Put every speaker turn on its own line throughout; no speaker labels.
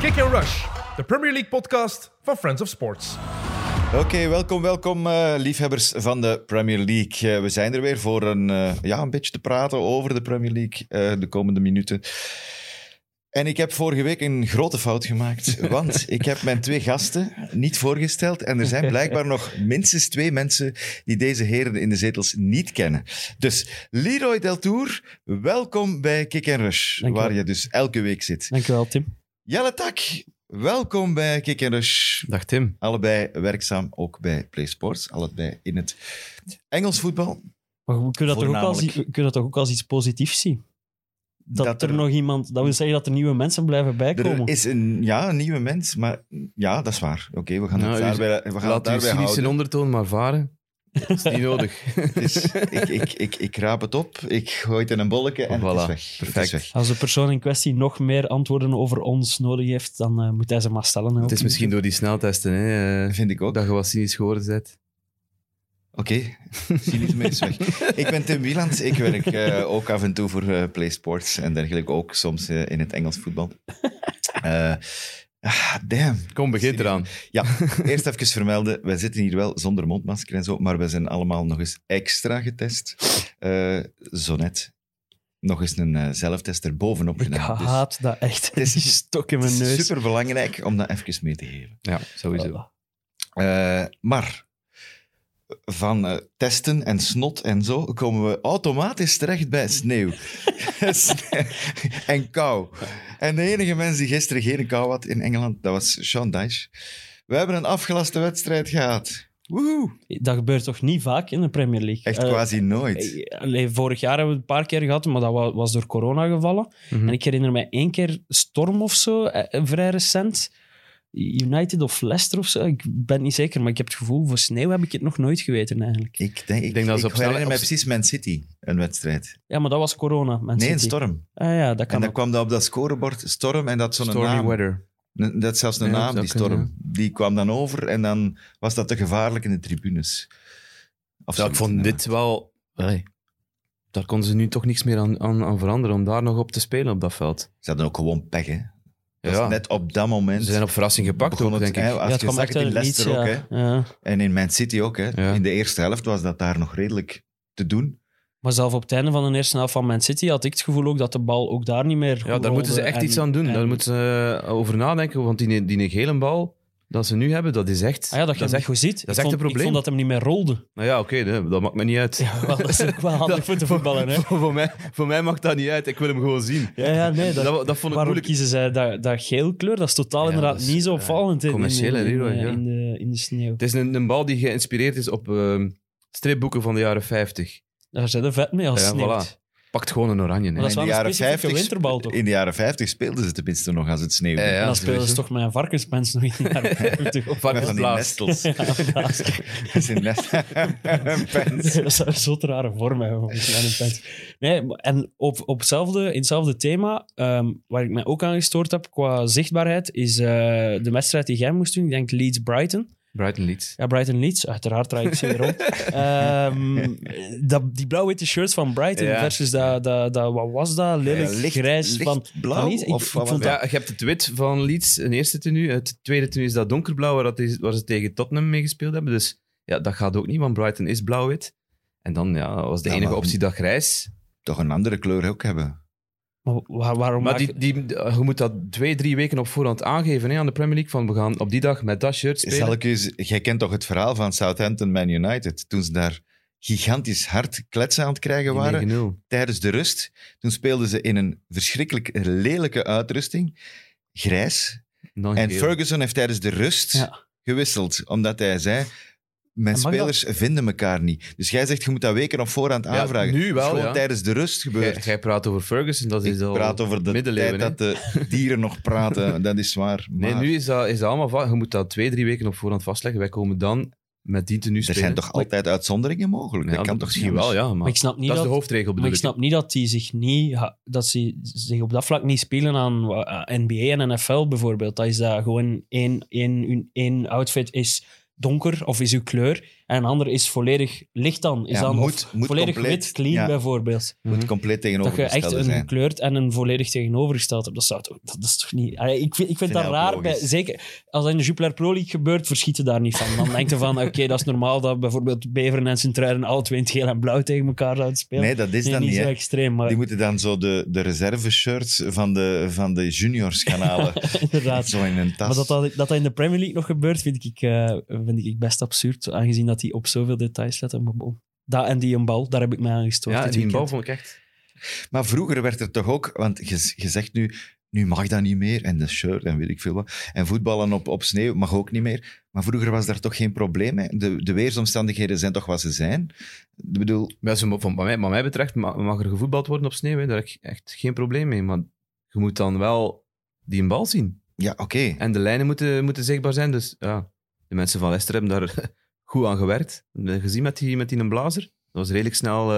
Kick and Rush, de Premier League podcast van Friends of Sports.
Oké, welkom, welkom, eh, liefhebbers van de Premier League. Eh, we zijn er weer voor een, eh, ja, een beetje te praten over de Premier League eh, de komende minuten. En ik heb vorige week een grote fout gemaakt, want ik heb mijn twee gasten niet voorgesteld. En er zijn blijkbaar nog minstens twee mensen die deze heren in de zetels niet kennen. Dus Leroy Deltour, welkom bij Kick Rush,
Dank je
waar
wel.
je dus elke week zit.
Dankjewel, Tim.
Jelle Tak, welkom bij Kick Rush.
Dag Tim.
Allebei werkzaam ook bij PlaySports. Allebei in het Engels voetbal.
Maar we kunnen dat, toch ook als,
Voornamelijk.
we kunnen dat toch ook als iets positiefs zien? Dat,
Dat
er,
er-
nog iemand... Dat wil zeggen dat er nieuwe mensen blijven bijkomen.
Er is een, ja, een nieuwe mens, maar ja, dat is waar. Oké, we gaan het
Nou, u-
daarbij, we gaan het
Laat uw
daarbij
cynische
houden.
ondertoon maar varen. Dat is niet nodig.
Het is- ik, ik, ik, ik raap het op, ik gooi het in een bolletje en het is
Oh, Voilà,
weg. Het is
perfect.
weg.
Als de persoon in kwestie nog meer antwoorden over ons nodig heeft, dan eh, moet hij ze maar stellen. hè,
Het is
ook.
misschien door die sneltesten, hè, eh,
Dat vind ik ook.
dat je wat cynisch geworden bent.
Oké, cynisme is weg. Ik ben Tim Wieland, ik werk eh, ook af en toe voor eh, PlaySports en dergelijke, ook soms eh, in het Engels voetbal. Eh, ah, damn,
Kom, begin eraan.
Ja, eerst even vermelden, wij zitten hier wel zonder mondmasker en zo, maar we zijn allemaal nog eens extra getest. Eh zo net nog eens een eh, zelftest erbovenop
Ik
gedaan. Dus
haat dat echt. Het
is-
is stok in mijn
het
neus.
is super belangrijk om dat even mee te geven.
Ja, sowieso.
Voilà.
Eh, maar van eh, testen en snot en zo komen we automatisch terecht bij sneeuw. Sne- en kou. En de enige mens die gisteren geen kou had in Engeland, dat was Sean Dyche. We hebben een afgelaste wedstrijd gehad. Woehoe.
Dat gebeurt toch niet vaak in de Premier League?
Echt
Eh,
quasi nooit.
eh, allee, vorig jaar hebben we het een paar keer gehad, maar dat wa- was door corona gevallen.
Mhm.
En ik herinner me één keer Storm of zo, eh, eh, vrij recent. United of Leicester of zo, ik ben niet zeker, maar ik heb het gevoel, voor sneeuw heb ik het nog nooit geweten eigenlijk.
Ik denk, ik,
Ik denk dat ze
ik herinner
op snelle-
mij
op-
precies Man City, een wedstrijd.
Ja, maar dat was corona, Man
Nee, een
City.
storm.
Ah ja, dat
En
kan
dan
ook.
kwam dat op dat scorebord Storm en dat zo'n
Stormy
naam.
weather.
N- Dat is zelfs een
Ja,
naam,
dat
die
zou
Storm.
kunnen,
Die kwam dan over en dan was dat te gevaarlijk in de tribunes. Of
Ja, ik
zoiets,
vond
ja.
dit wel... Allee, daar konden ze nu toch niks meer aan, aan, aan veranderen om daar nog op te spelen op dat veld.
Ze hadden ook gewoon pech, hè. Dat
Ja.
was net op dat moment.
Ze zijn op verrassing gepakt
begon
ook,
het,
denk ik.
hè, Als
ja,
je zag het in
uit het niets,
Leicester ook, hè.
ja. Ja.
En in Man City ook, hè.
Ja.
In de eerste helft was dat daar nog redelijk te doen.
Maar zelf op het einde van de eerste helft van Man City had ik het gevoel ook dat de bal ook daar niet meer
Ja,
goed
daar moeten ze
rolde
echt
en-
iets aan doen.
en-
Daar moeten ze eh, over nadenken, want die, die gele bal dat ze nu hebben, dat is echt...
Ah ja, dat je
dat is
hem
echt...
niet goed ziet.
dat is
ik
echt
vond,
een probleem.
Ik vond dat hem niet meer rolde.
Nou ja, oké, nee, dat maakt me niet uit.
Ja, wel, dat is ook wel handig voor te voetballen, hè.
voor, mij, voor mij maakt dat niet uit. Ik wil hem gewoon zien.
Ja, ja, nee, dat,
Dat, dat, vond ik
Waarom
moeilijk.
kiezen zij dat, dat geel kleur? Dat is totaal
Ja,
inderdaad
dat is,
niet zo
eh,
opvallend in, in,
commercieel, hè,
in,
Leroy,
eh,
ja.
in de, in de sneeuw.
Het is een, een bal die geïnspireerd is op ehm, stripboeken van de jaren 50.
Daar zit er vet mee als
Ja,
sneeuwt.
voilà. Pakt gewoon een oranje.
Maar dat
hè.
in
is wel
de
een
jaren
specifieke
50
winterbal, toch?
In de jaren 50 speelden ze tenminste nog als het sneeuwde.
Ja, ja.
en dan spelen ze
sowieso.
toch met een varkenspens nog in de jaren 50 op.
Met van die
Varkensblaas.
nestels. Dat is een nest. Een pens.
Dat zou zo'n rare vorm hebben. volgens mij, een pens. Nee, maar- en op, op hetzelfde, in hetzelfde thema, ehm, waar ik mij ook aan gestoord heb qua zichtbaarheid, is eh, de wedstrijd die jij moest doen. Ik denk Leeds-Brighton.
Brighton Leeds.
Ja, Brighton Leeds, uiteraard draai ik ze weer om. Ehm, dat, die blauw-witte shirts van Brighton
Ja.
versus dat, dat, dat, wat was dat? Lelijk
Ja, licht-
grijs van...
lichtblauw
van iets. Ik-
of
ik
wat
vond
was
Ja, je hebt het wit van Leeds, een eerste tenue. Het tweede tenue is dat donkerblauw, waar, dat is, waar ze tegen Tottenham mee gespeeld hebben. Dus ja, dat gaat ook niet, want Brighton is blauw-wit. En dan ja, was de
Ja,
enige
maar-
optie dat grijs.
toch een andere kleur ook hebben.
Maar waar- waarom
Maar
maak-
die, die, eh, je moet dat twee, drie weken op voorhand aangeven hè, aan de Premier League. Van we gaan op die dag met dat shirt spelen.
Zal ik u eens- jij kent toch het verhaal van Southampton Man United? Toen ze daar gigantisch hard kletsen aan het krijgen
Die
waren
9-0.
tijdens de rust. Toen speelden ze in een verschrikkelijk lelijke uitrusting, grijs.
Dan
En
geel.
Ferguson heeft tijdens de rust
Ja.
gewisseld, omdat hij zei... Mijn
En mag
spelers vinden elkaar niet. Dus jij zegt, je moet dat weken op voorhand
Ja,
aanvragen.
nu
Dat is
wel,
gewoon
ja.
tijdens de rust
Jij,
gebeurd.
jij praat over Ferguson, dat
Ik
is al
praat over de tijd
middeleeuwen,
dat de dieren nog praten, dat is waar. Maar
Nee, nu is dat, is dat allemaal vast. Je moet dat twee, drie weken op voorhand vastleggen. Wij komen dan met die tenue
er
spelen.
zijn toch altijd uitzonderingen mogelijk?
Ja,
dat kan toch
misschien
niet
wel, ja. Maar,
maar ik snap niet
dat is
dat,
de hoofdregel,
maar
bedoel
ik snap niet dat die zich niet... ha- Dat ze zich op dat vlak niet spelen aan wa- eh, aan NBA en NFL bijvoorbeeld. Dat is dat gewoon één, één, één outfit is donker of is uw kleur. En een ander is volledig licht dan. Is
Ja,
dan
moet-
of
moet
volledig
compleet,
wit clean
ja.
bijvoorbeeld.
moet
Hm.
compleet
Mhm. Dat je
tegenovergestelde
echt een
zijn.
gekleurd en een volledig tegenovergesteld hebt. Dat, zou toch, dat is toch niet... Allee, ik vind, ik vind
Vind
dat
ik ook
raar. Bij,
logisch.
zeker als dat in de Jupiler Pro League gebeurt, verschiet je daar niet van. Dan denk je van, oké, dat is normaal dat bijvoorbeeld Beveren en Sint-Truiden alle twee in het geel en blauw tegen elkaar zouden spelen.
Nee, dat is
Nee,
dan niet.
zo
hè.
extreem, maar
Die moeten dan zo de, de reserve-shirts van de, van de juniors gaan halen.
inderdaad.
zo in een tas.
Maar dat dat, dat dat in de Premier League nog gebeurt, vind ik, eh, vind ik best absurd. Aangezien dat die op zoveel details letten. Maar bon. Dat en die een bal, daar heb ik mij aan gestoord.
Ja,
dit
die bal
weekend.
vond ik echt...
Maar vroeger werd er toch ook, want je, je zegt nu, nu mag dat niet meer, en de shirt en weet ik veel wat. En voetballen op, op sneeuw mag ook niet meer. Maar vroeger was daar toch geen probleem mee. De, de weersomstandigheden zijn toch wat ze zijn. Ik bedoel,
Ja, ze mo- van, wat, mij, wat mij betreft ma- mag er gevoetbald worden op sneeuw. Hè. Daar heb ik echt geen probleem mee. Maar je moet dan wel die bal zien.
ja, oké.
En de lijnen moeten, moeten zichtbaar zijn. Dus ja, de mensen van Leicester hebben daar goed aan gewerkt. Gezien met die, met die een blazer. Dat was redelijk snel... eh,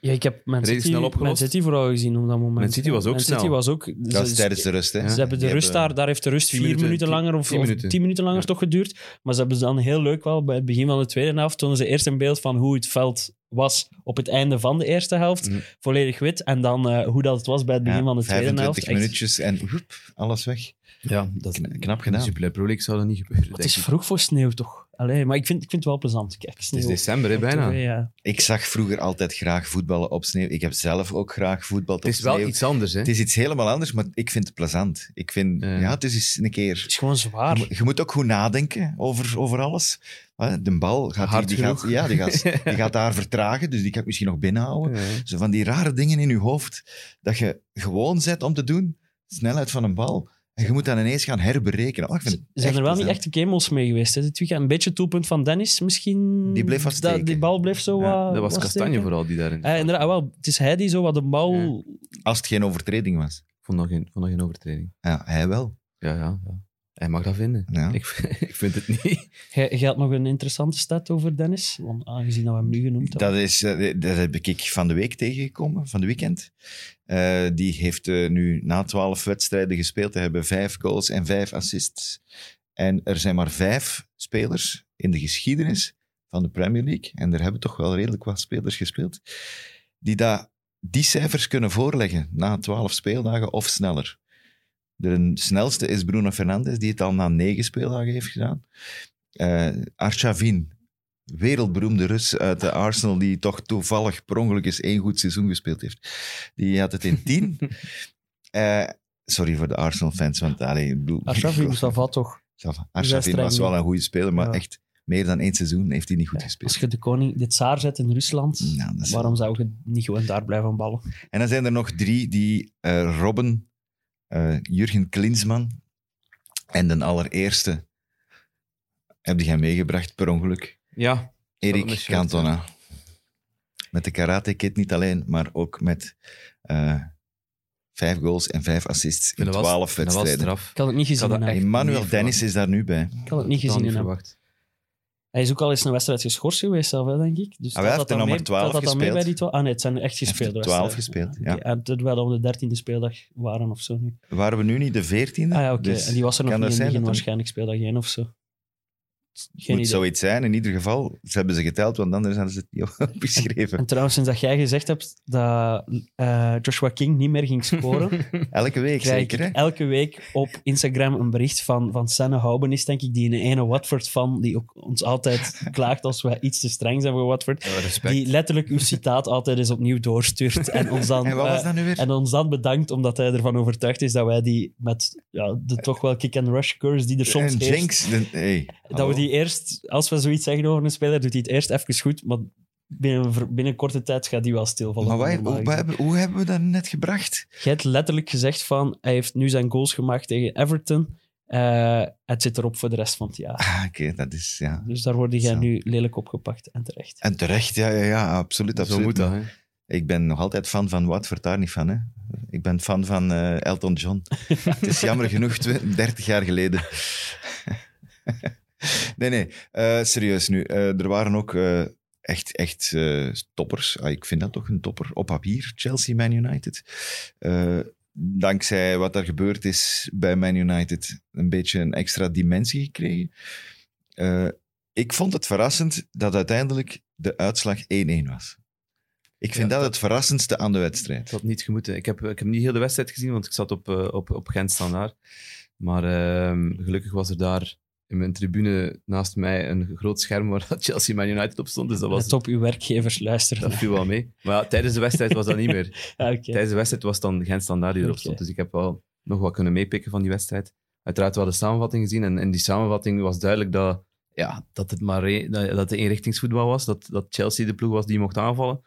Ja, ik heb Man
Redelijk
City,
snel opgelost.
Man City vooral gezien op dat moment.
Man City was ook
Man City
snel.
was ook... ze-
Dat is tijdens de rust, hè.
Ze hebben de
Die
rust daar, daar heeft de rust
tien
vier minuten,
minuten, tien-
langer of,
tien
of
minuten.
tien minuten langer
Ja.
toch geduurd. Maar ze hebben ze dan heel leuk wel bij het begin van de tweede helft. Tonen ze eerst een beeld van hoe het veld was op het einde van de eerste helft.
Mhm.
Volledig wit. En dan eh, hoe dat het was bij het begin
Ja,
van de tweede helft.
25
Echt-
minuutjes en woep, alles weg.
ja, dat
Kn- Knap
In de
gedaan.
Jupiler Pro League zou dat niet gebeuren.
Het is
denk ik.
vroeg voor sneeuw toch? Allee, maar ik vind, ik vind het wel plezant. Kijk,
Het
sneeuw.
is december, hè,
op
bijna.
tv, ja.
Ik zag vroeger altijd graag voetballen op sneeuw. Ik heb zelf ook graag voetbal op
Het is
sneeuw.
wel iets anders, hè?
Het is iets helemaal anders, maar ik vind het plezant. Ik vind,
Ja.
ja, het is eens een keer...
Het is gewoon zwaar.
Je moet- Je moet ook goed nadenken over, over alles. Hè, De bal gaat, die-
Hard
die,
genoeg.
gaat, ja, die, gaat, die gaat daar vertragen, dus die kan ik misschien nog binnenhouden.
Ja.
Zo van die rare dingen in je hoofd dat je gewoon zet om te doen, snelheid van een bal, en je moet dan ineens gaan herberekenen. Oh, ik vind het
Zijn
echt
er wel niet
plezant.
echte kemels mee geweest hè, dit weekend? Een beetje het doelpunt van Dennis misschien.
Die bleef vaststeken.
Dat- Die bal bleef zo
Ja,
wat.
Dat was
wat
Kastanje
steken.
vooral die daarin.
Eh, inderdaad, ah, wel, het is hij die zo wat de bal.
Ja.
Als het geen overtreding was.
Ik vond nog geen, vond nog geen overtreding.
Ja, hij wel.
Ja, ja, ja. Hij mag dat vinden.
Ja.
Ik, ik vind het niet.
Jij jij had nog een interessante stad over Dennis, want aangezien dat we hem nu genoemd hebben.
Dat, is, eh, dat heb ik van de week tegengekomen, van de weekend. Eh, die heeft eh, nu na twaalf wedstrijden gespeeld. Hij hebben vijf goals en vijf assists. En er zijn maar vijf spelers in de geschiedenis van de Premier League. En er hebben toch wel redelijk wat spelers gespeeld. Die dat, die cijfers kunnen voorleggen na twaalf speeldagen of sneller. De snelste is Bruno Fernandes, die het al na negen speeldagen heeft gedaan. Eh Arshavin, wereldberoemde Rus uit de Arsenal, die toch toevallig per ongeluk eens één goed seizoen gespeeld heeft. Die had het in tien. Eh, sorry voor de Arsenal-fans, want... Allee, ik bedoel-
Ashrafi Moussafa toch?
Ça va. Arshavin
streng,
was wel
ja.
een goede speler, maar
Ja.
echt meer dan één seizoen heeft hij niet goed gespeeld.
Als je de koning, de tsaar zet in Rusland,
Nou, dat is-
waarom zou je niet gewoon daar blijven ballen?
En dan zijn er nog drie die eh, Robben, eh, Jurgen Klinsman en de allereerste heb die jij meegebracht per ongeluk.
Ja, op mijn
Erik
shirt,
Cantona. Met de Karate Kid niet alleen, maar ook met eh, vijf goals en vijf assists in
dat was-
twaalf
dat was
wedstrijden.
straf.
Ik had het niet gezien.
had dat
hè.
echt
Emmanuel
niet
Dennis is daar nu bij.
Ik had het niet
Totaal
gezien. hè.
niet verwacht.
Hij is ook al eens een wedstrijd geschorst geweest, zelf, hè, denk ik.
Ah,
Dus dat
hij
dat
heeft er
dan
nog maar
mee-
12
dat dat dan mee
gespeeld.
bij die 12 Ah nee, het zijn echt
heeft er
gespeelde
12
wedstrijden.
gespeeld, ja.
Oké, En terwijl we op de dertiende speeldag waren of zo nu.
Waren we nu niet de veertiende?
Ah ja, oké.
Dus
en die was er nog
kan
niet
dat
in
zijn dat
het begin,
hem-
waarschijnlijk speeldag 1 of zo. Geen
moet
idee.
zoiets zijn. In ieder geval, ze hebben ze geteld, want anders hadden ze het niet opgeschreven.
En trouwens, sinds dat jij gezegd hebt dat eh, Joshua King niet meer ging scoren,
Elke week
krijg
zeker, hè?
ik elke week op Instagram een bericht van, van Sanne Houben is, denk ik, die een ene Watford-fan, die ook ons altijd klaagt als we iets te streng zijn voor Watford,
Ja, respect.
die letterlijk uw citaat altijd eens opnieuw doorstuurt en ons dan...
En wat was
eh,
dat nu weer?
en ons dan bedankt omdat hij ervan overtuigd is dat wij die met ja, de toch wel kick-and-rush curse die er soms
Een
heerst,
Jinx. de- hey,
dat
hallo.
we die eerst, als we zoiets zeggen over een speler, doet hij het eerst even goed, maar binnen, ver- binnen korte tijd gaat hij wel stilvallen.
Maar wij, hoe,
Normaal gezien.
wij hebben- hoe hebben we dat net gebracht?
Jij hebt letterlijk gezegd van, hij heeft nu zijn goals gemaakt tegen Everton. Eh, het zit erop voor de rest van het jaar.
Ah, oké, dat is... Ja.
Dus daar word jij
Zo.
nu lelijk opgepakt en terecht.
En terecht, ja, ja, ja absoluut.
Zo
absoluut.
moet dat, nou, hè.
Ik ben nog altijd fan van Watford, daar niet van, hè? Ik ben fan van eh, Elton John. het is jammer genoeg twe- 30 jaar geleden. nee, nee, eh, serieus nu. Eh, er waren ook eh, echt, echt eh, toppers. Ah, ik vind dat toch een topper. Op papier, Chelsea, Man United. Eh, dankzij wat er gebeurd is bij Man United, een beetje een extra dimensie gekregen. Eh, ik vond het verrassend dat uiteindelijk de uitslag 1-1 was. Ik vind
Ja,
dat het verrassendste aan de wedstrijd.
Het had niet gemoeten. Ik heb, ik heb niet heel de wedstrijd gezien, want ik zat op, eh, op, op Gent Standaard. Maar ehm, gelukkig was er daar in mijn tribune naast mij een groot scherm waar Chelsea Man United op stond. Dus dat, was,
Let op, uw werkgevers luisteren.
dat viel wel mee. Maar ja, tijdens de wedstrijd was dat niet meer.
Ah, oké.
Tijdens de wedstrijd was het dan Gent Standaard die erop
Oké.
stond. Dus ik heb wel nog wat kunnen meepikken van die wedstrijd. Uiteraard wel de samenvatting gezien. En in die samenvatting was duidelijk dat, ja, dat het maar een- dat dat het eenrichtingsvoetbal was. Dat, dat Chelsea de ploeg was die mocht aanvallen.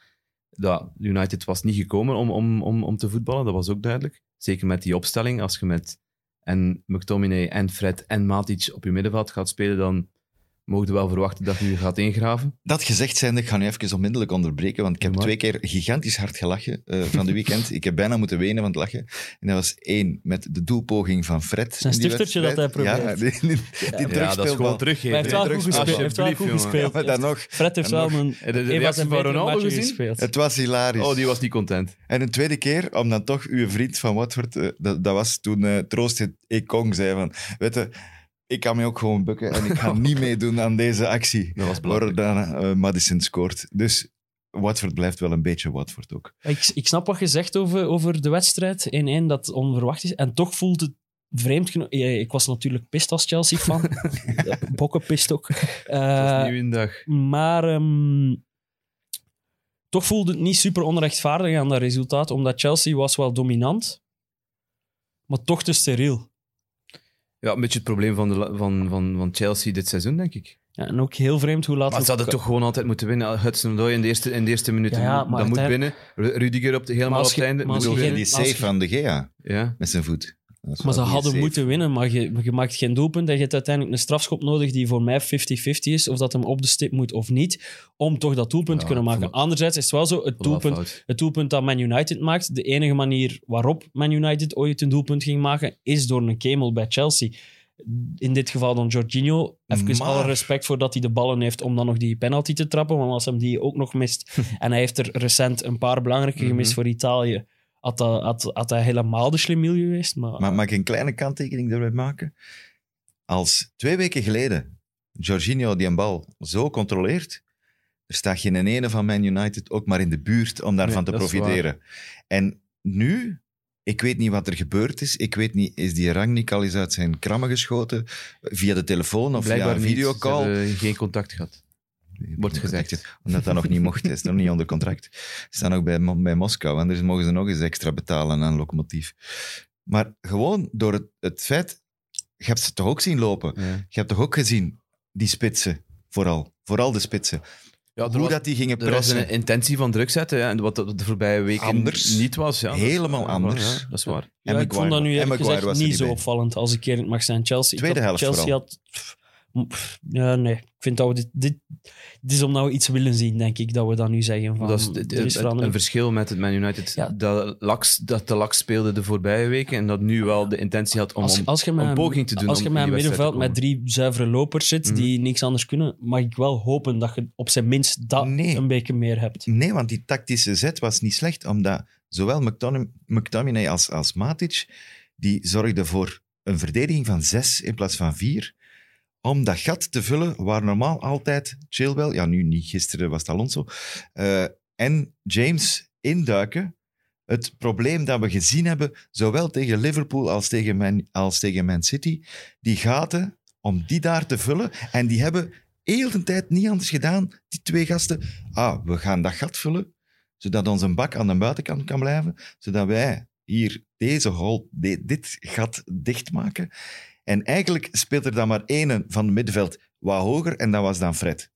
Ja, United was niet gekomen om, om, om, om te voetballen. Dat was ook duidelijk. Zeker met die opstelling. Als je met en McTominay en Fred en Matic op je middenveld gaat spelen, dan mogen we wel verwachten dat je je gaat ingraven.
Dat gezegd zijnde, ik ga nu even onmiddellijk onderbreken, want ik heb
Doe
twee
maar.
keer gigantisch hard gelachen eh, van de weekend. ik heb bijna moeten wenen van het lachen. En dat was één met de doelpoging van Fred.
Zijn
in die
stiftertje
wedstrijd.
dat hij probeert.
Ja, die, die- die
ja, dat is
terugspeelbal.
Maar
gewoon
hij
teruggeven.
heeft wel
Nee,
goed
drugs-
gespeeld. Hij heeft wel goed
Ja,
alsjeblieft, jongen.
gespeeld.
maar dan nog.
Fred heeft
En
wel
nog-
een
De, de
een van
reactie
zijn
van
betere
Ronaldo
matchen
gezien?
gespeeld.
Het was hilarisch.
Oh, die was niet content.
En een tweede keer, om dan toch uw vriend van Watford... eh, dat, dat was toen eh, Troost Ekong zei van... Weet je, ik kan mij ook gewoon bukken en ik ga niet meedoen aan deze actie.
Dat was belangrijk.
Waardoor dan eh, Madison scoort. Dus Watford blijft wel een beetje Watford ook.
Ik, ik snap wat je zegt over, over de wedstrijd. 1-1 dat onverwacht is. En toch voelt het vreemd genoeg. Eh, Ik was natuurlijk pist als Chelsea-fan. Ja, Bokken pist ook.
Het
Eh,
was nieuw in dag.
Maar ehm, toch voelde het niet super onrechtvaardig aan dat resultaat, omdat Chelsea was wel dominant, maar toch te steriel.
Ja, een beetje het probleem van, de, la- van, van, van Chelsea dit seizoen, denk ik.
Ja, en ook heel vreemd hoe laat...
Maar ze
het-
hadden toch gewoon altijd moeten winnen. Hudson-Odoi in de eerste, in de eerste minuut.
Ja, ja, maar
dat moet binnen.
uiteindelijk-
Ru- Rudiger op de, helemaal
Maar
op
als
het
je-
einde.
maar als je
Bedoel,
geen-
En die
als
save
je-
van de Gea
Ja.
met zijn voet. Dat is
Maar ze
wel die
hadden
save.
moeten winnen, maar je, je maakt geen doelpunt en je hebt uiteindelijk een strafschop nodig die voor mij 50-50 is, of dat hem op de stip moet of niet, om toch dat doelpunt te
Ja,
kunnen maken.
maar-
Anderzijds is het wel zo, het
Wat wel
doelpunt
fout.
het doelpunt dat Man United maakt, de enige manier waarop Man United ooit een doelpunt ging maken, is door een kemel bij Chelsea. In dit geval dan Jorginho. Even
Maar-
alle respect voor dat hij de ballen heeft om dan nog die penalty te trappen, want als hem die ook nog mist, en hij heeft er recent een paar belangrijke gemist
Mhm.
voor Italië, had, dat, had, had hij helemaal de slimiel geweest. Maar,
Maar mag ik een kleine kanttekening daarbij maken? Als twee weken geleden Jorginho die een bal zo controleert, er staat geen ene van Man United ook maar in de buurt om daarvan
Nee,
te
dat is
profiteren. En nu, ik weet niet wat er gebeurd is. Ik weet niet, is die Rangnick al eens uit zijn krammen geschoten? Via de telefoon of
Blijkbaar
via
niet.
een videocall?
Ze hebben geen contact gehad. Wordt gezegd.
Omdat dat nog niet mocht. Het is nog niet onder contract. Ze staan ook bij, Mo- bij Moskou. Anders mogen ze nog eens extra betalen aan locomotief. Maar gewoon door het, het feit... Je hebt ze toch ook zien lopen?
Ja.
Je hebt toch ook gezien die spitsen? Vooral. Vooral de spitsen.
Ja,
Hoe dat die gingen
er was
pressen.
een intentie van druk zetten. Ja, en wat dat de voorbije weken
Anders.
niet was. Ja, dat is
Helemaal
waar,
anders.
ja, dat is waar.
Ja, ik vond dat nu eerlijk gezegd niet zo opvallend, als ik eerlijk mag zijn. Chelsea,
Tweede
ik dacht,
helft
Chelsea had... pff, pff, ja, nee, ik vind dat we dit, dit... Dit is omdat we iets willen zien, denk ik, dat we dat nu zeggen. Van,
dat is, het-
er
het-
is
een
verandering.
verschil met het Man United.
Ja.
Dat, laks, dat de Laks speelde de voorbije weken. En dat nu wel de intentie had om...
Als,
om-
als je met
om
een-
poging te doen
Als
om
je
in
met een
die wedstrijd
middenveld
te Mhm.
met drie zuivere lopers zit die niks anders kunnen, mag ik wel hopen dat je op zijn minst dat
Nee.
een beetje meer hebt.
Nee, want die tactische zet was niet slecht, omdat zowel McTomin- McTominay als, als Matic, die zorgden voor een verdediging van zes in plaats van vier, om dat gat te vullen waar normaal altijd Chilwell, ja nu niet, gisteren was het Alonso, eh, en James induiken. Het probleem dat we gezien hebben, zowel tegen Liverpool als tegen Man, als tegen Man City, die gaten, om die daar te vullen, en die hebben heel de tijd niet anders gedaan, die twee gasten, ah, we gaan dat gat vullen, zodat onze bak aan de buitenkant kan blijven, zodat wij hier deze hol, de- dit gat dichtmaken. En eigenlijk speelt er dan maar één van het middenveld wat hoger, en dat was dan Fred.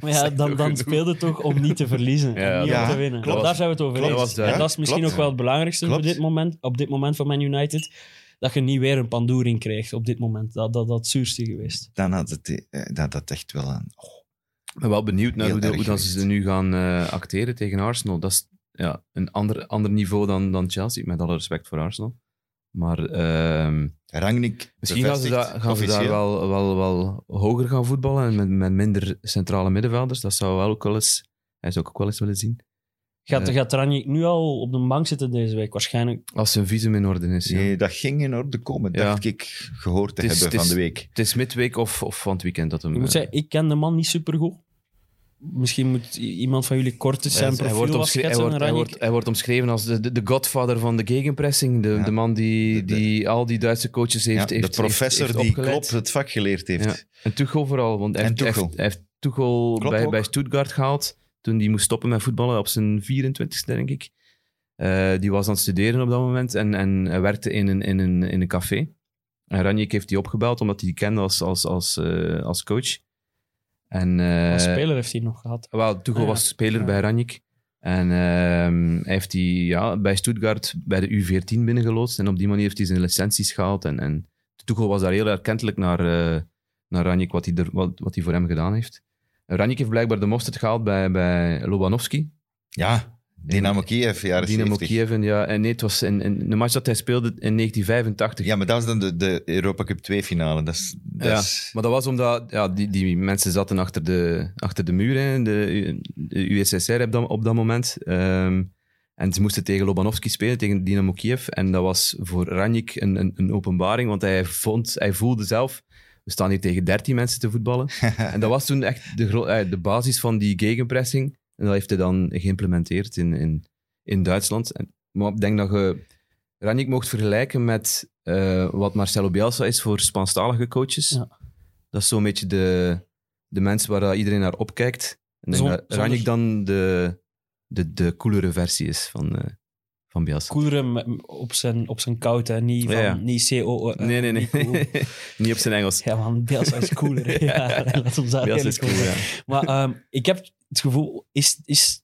Maar ja,
Zegt
dan, dan
ook genoeg.
speelde het toch om niet te verliezen en
Ja,
niet om
ja,
te winnen.
klopt.
Daar zijn we het over
Klopt.
eens.
Dat was duidelijk.
en dat is misschien
Klopt.
ook wel het belangrijkste
Klopt.
op dit, moment, op dit moment van Man United. Dat je niet weer een pandoering krijgt op dit moment. Dat dat, dat het zuurste geweest.
Dan had het eh, dat, dat echt wel aan.
Ik ben wel benieuwd naar
Heel
hoe, de-
erg
hoe dat ze
geweest.
nu gaan eh, acteren tegen Arsenal. Dat is ja, een ander, ander niveau dan, dan Chelsea, met alle respect voor Arsenal. Maar ehm,
Rangnick
misschien gaan ze,
bevestigt
daar- gaan ze daar
officieel.
wel, wel, wel hoger gaan voetballen en met, met minder centrale middenvelders. Dat zou wel ook wel eens, hij zou ik ook wel eens willen zien.
Gaat,
Ja.
gaat Ranjik nu al op de bank zitten deze week? Waarschijnlijk.
Als zijn visum in orde is. Ja.
Nee, dat ging in orde komen,
Ja.
dacht ik, gehoord te
Het is-
hebben
het is-
van de week.
Het is midweek of, of van het weekend dat hem...
Ik moet
eh,
zeggen, ik ken de man niet supergoed. Misschien moet i- iemand van jullie kort eens
hij-
zijn
hij,
profiel
wordt omschre- hij,
afschetsen.
wordt, hij,
Ranjik.
wordt, hij wordt omschreven als de, de, de godfather van de gegenpressing. De,
Ja.
de man die,
De- de-
die al die Duitse coaches heeft
Ja,
heeft-
de professor
heeft- heeft
die
opgeleid.
klopt het vak geleerd heeft.
Ja. En Tuchel vooral, want hij
En
heeft, hij
Tuchel.
heeft, hij heeft Tuchel
Klopt
bij,
ook.
bij Stuttgart gehaald toen hij moest stoppen met voetballen op zijn 24ste, denk ik. Eh, die was aan het studeren op dat moment en, en hij werkte in een, in een, in een café. En Ranjik heeft die opgebeld omdat hij die kende als, als, als, eh, als coach. En, eh,
Als speler heeft hij nog gehad.
wel, Tuchel
Ah, ja.
was speler
Ja.
bij Ranjik. En ehm, hij heeft die, ja, bij Stuttgart bij de U14 binnengeloodst. En op die manier heeft hij zijn licenties gehaald. En, en Tuchel was daar heel erkentelijk naar, eh, naar Ranjik, wat hij, er, wat, wat hij voor hem gedaan heeft. Ranjik heeft blijkbaar de mosterd gehaald bij, bij Lobanovski.
Ja, Dynamo Kiev, jaren
Dynamo
70.
Kiev. En, ja, en nee, het was in, in de match dat hij speelde in 1985.
Ja, maar dat is dan de, de Europa Cup 2 finale. Dat is, dat
Ja.
is-
Maar dat was omdat ja, die, die mensen zaten achter de, achter de muur. Hè. De, de USSR op dat, op dat moment. Ehm, en ze moesten tegen Lobanovski spelen, tegen Dynamo Kiev. En dat was voor Ranjik een, een, een openbaring, want hij, vond, hij voelde zelf... We staan hier tegen 13 mensen te voetballen. en dat was toen echt de, gro- eh, de basis van die gegenpressing. En dat heeft hij dan geïmplementeerd in, in, in Duitsland. En, maar ik denk dat je Ranjik mocht vergelijken met eh, wat Marcelo Bielsa is voor Spaanstalige coaches.
Ja.
Dat is zo'n beetje de, de mensen waar dat iedereen naar opkijkt. En ik denk
Zon-
dat
zonder-
Ranjik dan de, de, de coolere versie is van, eh van Bielsa.
Koederen m- op zijn, op zijn koud, hè. Niet, van,
Ja, ja.
niet CO. eh,
Nee, nee, nee.
niet cool.
Niet op zijn Engels.
Ja, man, Bielsa is cooler. hè. ja, laat ons daar
Bielsa is
eerlijk
cool,
over
ja.
zijn. Maar ehm, ik heb het gevoel, is, is,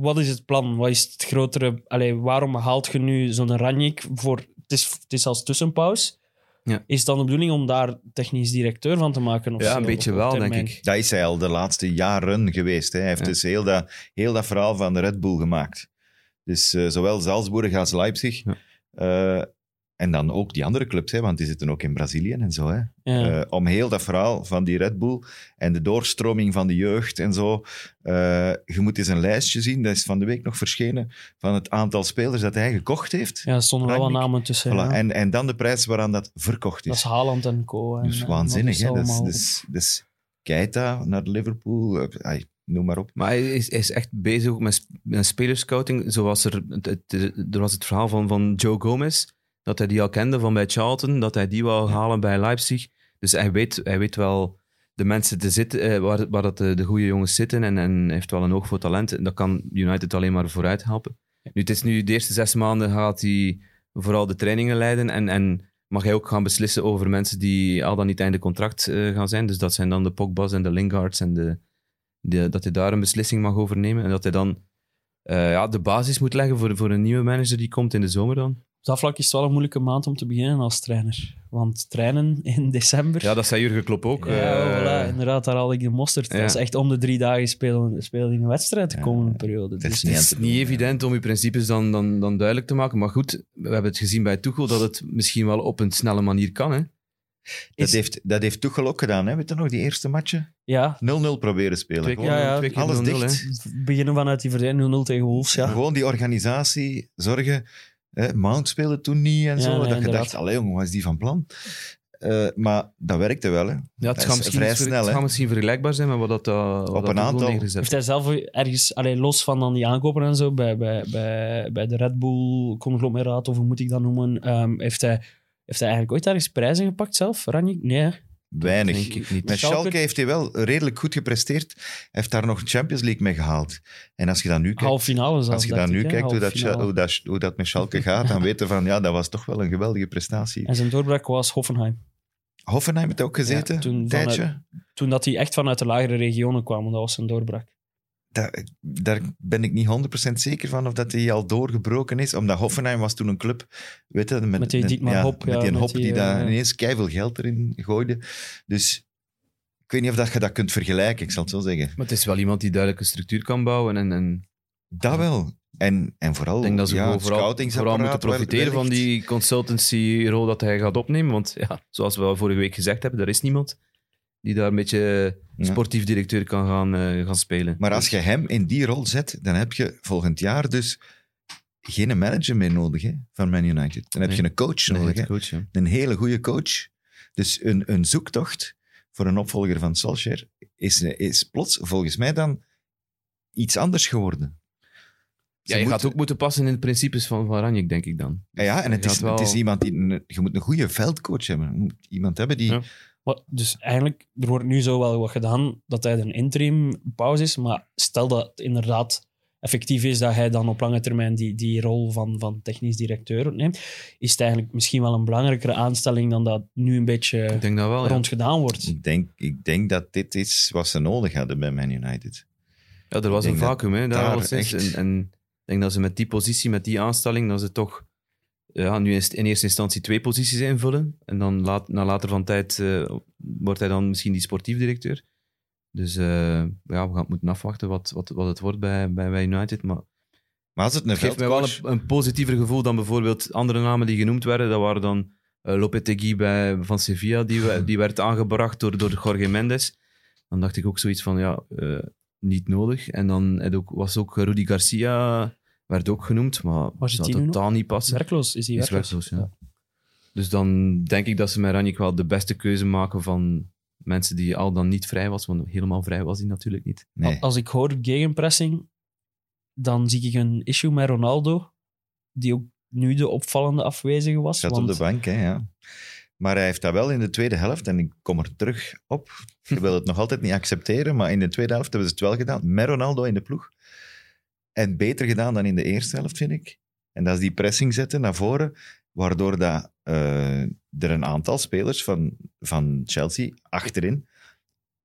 wat is het plan? Wat is het grotere... Allee, waarom haalt je nu zo'n Ranjik voor... Het is, het is als tussenpaus.
Ja.
Is het dan de bedoeling om daar technisch directeur van te maken? Of
Ja,
zo,
een beetje
op- op
wel, denk
termijn?
ik.
dat is hij al de laatste jaren geweest. Hè. Hij heeft
Ja.
dus heel dat, heel dat verhaal van Red Bull gemaakt. Dus eh, zowel Salzburg als Leipzig.
Ja.
Eh, en dan ook die andere clubs, hè, want die zitten ook in Brazilië en zo. Hè.
Ja.
Eh, om heel dat verhaal van die Red Bull en de doorstroming van de jeugd en zo. Eh, je moet eens een lijstje zien, dat is van de week nog verschenen, van het aantal spelers dat hij gekocht heeft.
ja, er stonden wel wat
Rangnick.
namen tussen.
Voilà.
ja.
En, en dan de prijs waaraan dat verkocht
Dat
is.
is Haaland en co. en-
Dus
en
waanzinnig. Hè? Dat, is,
allemaal.
dat, is, dat is Keita naar Liverpool, eh, ai, noem maar op.
Maar hij is, hij is echt bezig ook met, sp- met spelerscouting. Zoals er, het, het- er was het verhaal van, van Joe Gomez, dat hij die al kende van bij Charlton, dat hij die wou halen bij Leipzig. Dus hij weet, hij weet wel de mensen te zitten, eh, waar, waar dat de, de goede jongens zitten en, en heeft wel een oog voor talent. En dat kan United alleen maar vooruit helpen. Nu, het is nu de eerste zes maanden gaat hij vooral de trainingen leiden en, en mag hij ook gaan beslissen over mensen die al dan niet einde contract eh, gaan zijn. Dus dat zijn dan de Pogba's en de Lingards en de de- dat hij daar een beslissing mag over nemen. En dat hij dan eh, ja, de basis moet leggen voor, voor een nieuwe manager die komt in de zomer dan.
Op dat vlak is het wel een moeilijke maand om te beginnen als trainer. Want trainen in december...
Ja, dat zei Jurgen Klopp ook.
Ja,
eh,
oh,
voilà, inderdaad, daar haal ik de mosterd.
ja.
Dat is echt om de drie dagen spelen, spelen in een wedstrijd de
Ja,
komende periode.
dat is
Dus
Het
niet
is
aan te
niet
doen,
evident om je principes dan, dan, dan duidelijk te maken. Maar goed, we hebben het gezien bij Tuchel dat het misschien wel op een snelle manier kan. Hè?
Dat
Is-
heeft, dat heeft Tuchel ook gedaan, hè? weet je nog, die eerste matchen? 0-0
ja,
proberen spelen.
Twee keer,
Gewoon,
Ja, ja.
twee keer
Alles
0-0,
dicht.
hè.
beginnen vanuit die verdediging 0-0 tegen Wolves. Ja.
gewoon die organisatie zorgen. Hè? Mount speelde toen niet en
Ja,
zo.
nee,
dat je
inderdaad.
dacht, allee jongen, wat is die van plan? Eh, maar dat werkte wel, hè?
Ja,
Dat
het
is
gaat misschien,
vrij
iets ver-
snel,
het
hè.
gaat misschien vergelijkbaar zijn met wat dat, eh, wat dat
een
Tuchel
aantal.
neergezet
Heeft hij zelf ergens, allee, los van dan die aankopen en zo, bij, bij, bij, bij de Red Bull conglomeraat, of hoe moet ik dat noemen, ehm, heeft, hij, heeft hij eigenlijk ooit ergens prijzen gepakt zelf, Ranjik? Nee, hè?
Weinig.
Denk ik niet.
Met
Schalke-
Schalke, heeft hij wel redelijk goed gepresteerd. Hij heeft daar nog Champions League mee gehaald. En als je dan nu kijkt,
halve finale zelfs.
als je
dacht
dan nu
ik, hè,
kijkt hoe dat,
halve
Scha- hoe,
finale.
dat, hoe dat met Schalke gaat, dan weten van ja, dat was toch wel een geweldige prestatie.
En zijn doorbraak was Hoffenheim.
Hoffenheim heeft ook gezeten,
Ja, toen
een
vanuit-
tijdje.
Toen dat hij echt vanuit de lagere regionen kwam, dat was zijn doorbraak.
Daar, daar ben ik niet 100% zeker van of dat hij al doorgebroken is. Omdat Hoffenheim was toen een club, weet je, met,
Met die Dietmar Hop,
met
ja,
die
met
Hop
die,
die daar
eh,
ineens keiveel geld erin gooide. Dus ik weet niet of dat je dat kunt vergelijken, ik zal het zo zeggen.
Maar het is wel iemand die duidelijk een structuur kan bouwen en, en
Dat wel. En, en vooral,
Ik denk dat ze
ja,
gewoon
het
vooral, vooral
scoutingsapparaat
moeten
wel-
profiteren van
wellicht.
die consultancy-rol dat hij gaat opnemen. Want ja, zoals we al vorige week gezegd hebben, er is niemand. die daar een beetje
Ja.
sportief directeur kan gaan, eh, gaan spelen.
Maar als je hem in die rol zet, dan heb je volgend jaar dus geen manager meer nodig hè, van Man United. Dan heb je
Nee.
een coach
Nee,
nodig.
head
hè.
coach, ja.
Een hele goede coach. Dus een, een zoektocht voor een opvolger van Solskjaer is, is plots volgens mij dan iets anders geworden. Ze
Ja, je
moet- Ah
gaat ook moeten passen in de principes van, van Ranjik, denk ik dan. Dus
Ja, ja, en het
Je
is,
gaat wel-
het is iemand die... een- je moet een goede veldcoach hebben. Je moet iemand hebben die...
Ja.
Maar, dus eigenlijk, er wordt nu zo wel wat gedaan dat hij een interim pauze is. Maar stel dat het inderdaad effectief is dat hij dan op lange termijn die, die rol van, van technisch directeur neemt, is het eigenlijk misschien wel een belangrijkere aanstelling dan dat nu een beetje
Ik denk dat wel, ja. Mm.
rond gedaan wordt.
Ik, denk, ik denk dat dit is wat ze nodig hadden bij Man United.
Ja, er was
Ik
een
denk dat
vacuüm, hè, daar,
daar
alleszins.
echt-
En, en ik denk dat ze met die positie, met die aanstelling, dat ze toch ja, nu is in eerste instantie twee posities invullen. En dan laat, na later van tijd eh, wordt hij dan misschien die sportief directeur. Dus eh, ja, we gaan moeten afwachten wat, wat, wat het wordt bij, bij, bij United. Maar
Maar als het een
het geeft mij wel
veldcoach...
een, een positiever gevoel dan bijvoorbeeld andere namen die genoemd werden. Dat waren dan eh, Lopetegui bij, van Sevilla, die, we- die werd aangebracht door, door Jorge Mendes. Dan dacht ik ook zoiets van, ja, eh, niet nodig. En dan had ook, was ook Rudy Garcia, werd ook genoemd, maar
Was het
zou
die nu
totaal niet
Is
passen.
werkloos is hij
Is
werkloos.
werkloos, ja. Dus dan denk ik dat ze met Ranjik wel de beste keuze maken van mensen die al dan niet vrij was, want helemaal vrij was hij natuurlijk niet.
Nee.
Al- Als ik hoor gegenpressing, dan zie ik een issue met Ronaldo, die ook nu de opvallende afwezige was.
Zat
want
op de bank, hè, ja. Maar hij heeft dat wel in de tweede helft, en ik kom er terug op. Je wil het nog altijd niet accepteren, maar in de tweede helft hebben ze het wel gedaan. Met Ronaldo in de ploeg. En beter gedaan dan in de eerste helft, vind ik. En dat is die pressing zetten naar voren, waardoor dat, eh, er een aantal spelers van, van Chelsea achterin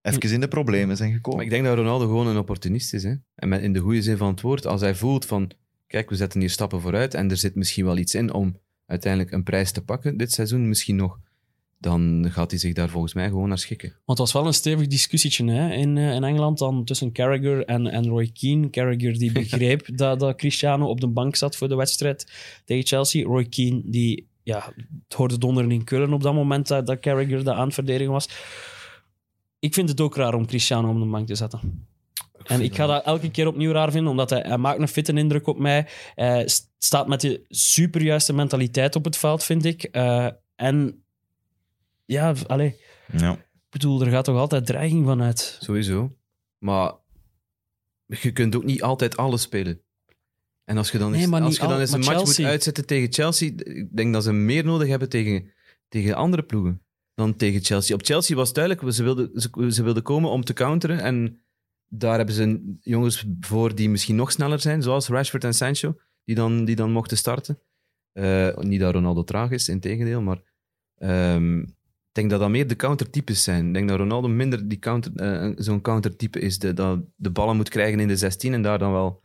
even in de problemen zijn
Maar
gekomen.
ik denk dat Ronaldo gewoon een opportunist is. Hè? En met, in de goede zin van het woord, als hij voelt van, kijk, we zetten hier stappen vooruit en er zit misschien wel iets in om uiteindelijk een prijs te pakken dit seizoen misschien nog, dan gaat hij zich daar volgens mij gewoon naar schikken.
Want het was wel een stevig discussietje hè, in, eh, in Engeland dan tussen Carragher en, en Roy Keane. Carragher die begreep dat, dat Cristiano op de bank zat voor de wedstrijd tegen Chelsea. Roy Keane die, ja, het hoorde donderen in Keulen op dat moment dat, dat Carragher de aan het verdedigen was. Ik vind het ook raar om Cristiano op de bank te zetten. En ik ga dat elke keer opnieuw raar vinden, omdat hij, hij maakt een fitte indruk op mij. Hij st- staat met de superjuiste mentaliteit op het veld, vind ik. Eh, en ja, v- allee.
Ja.
Ik bedoel, er gaat toch altijd dreiging vanuit.
Sowieso. Maar je kunt ook niet altijd alles spelen. En als je dan
Nee,
eens,
maar
als
niet
je dan
al-
eens
maar
een match
Chelsea-
moet uitzetten tegen Chelsea, d- ik denk dat ze meer nodig hebben tegen, tegen andere ploegen dan tegen Chelsea. Op Chelsea was het duidelijk, ze wilden, ze, ze wilden komen om te counteren. En daar hebben ze jongens voor die misschien nog sneller zijn, zoals Rashford en Sancho, die dan, die dan mochten starten. Eh, niet dat Ronaldo traag is, in tegendeel, maar... ehm, ik denk dat dat meer de countertypes zijn. Ik denk dat Ronaldo minder die counter, eh, zo'n countertype is. De, dat de ballen moet krijgen in de 16 en daar dan wel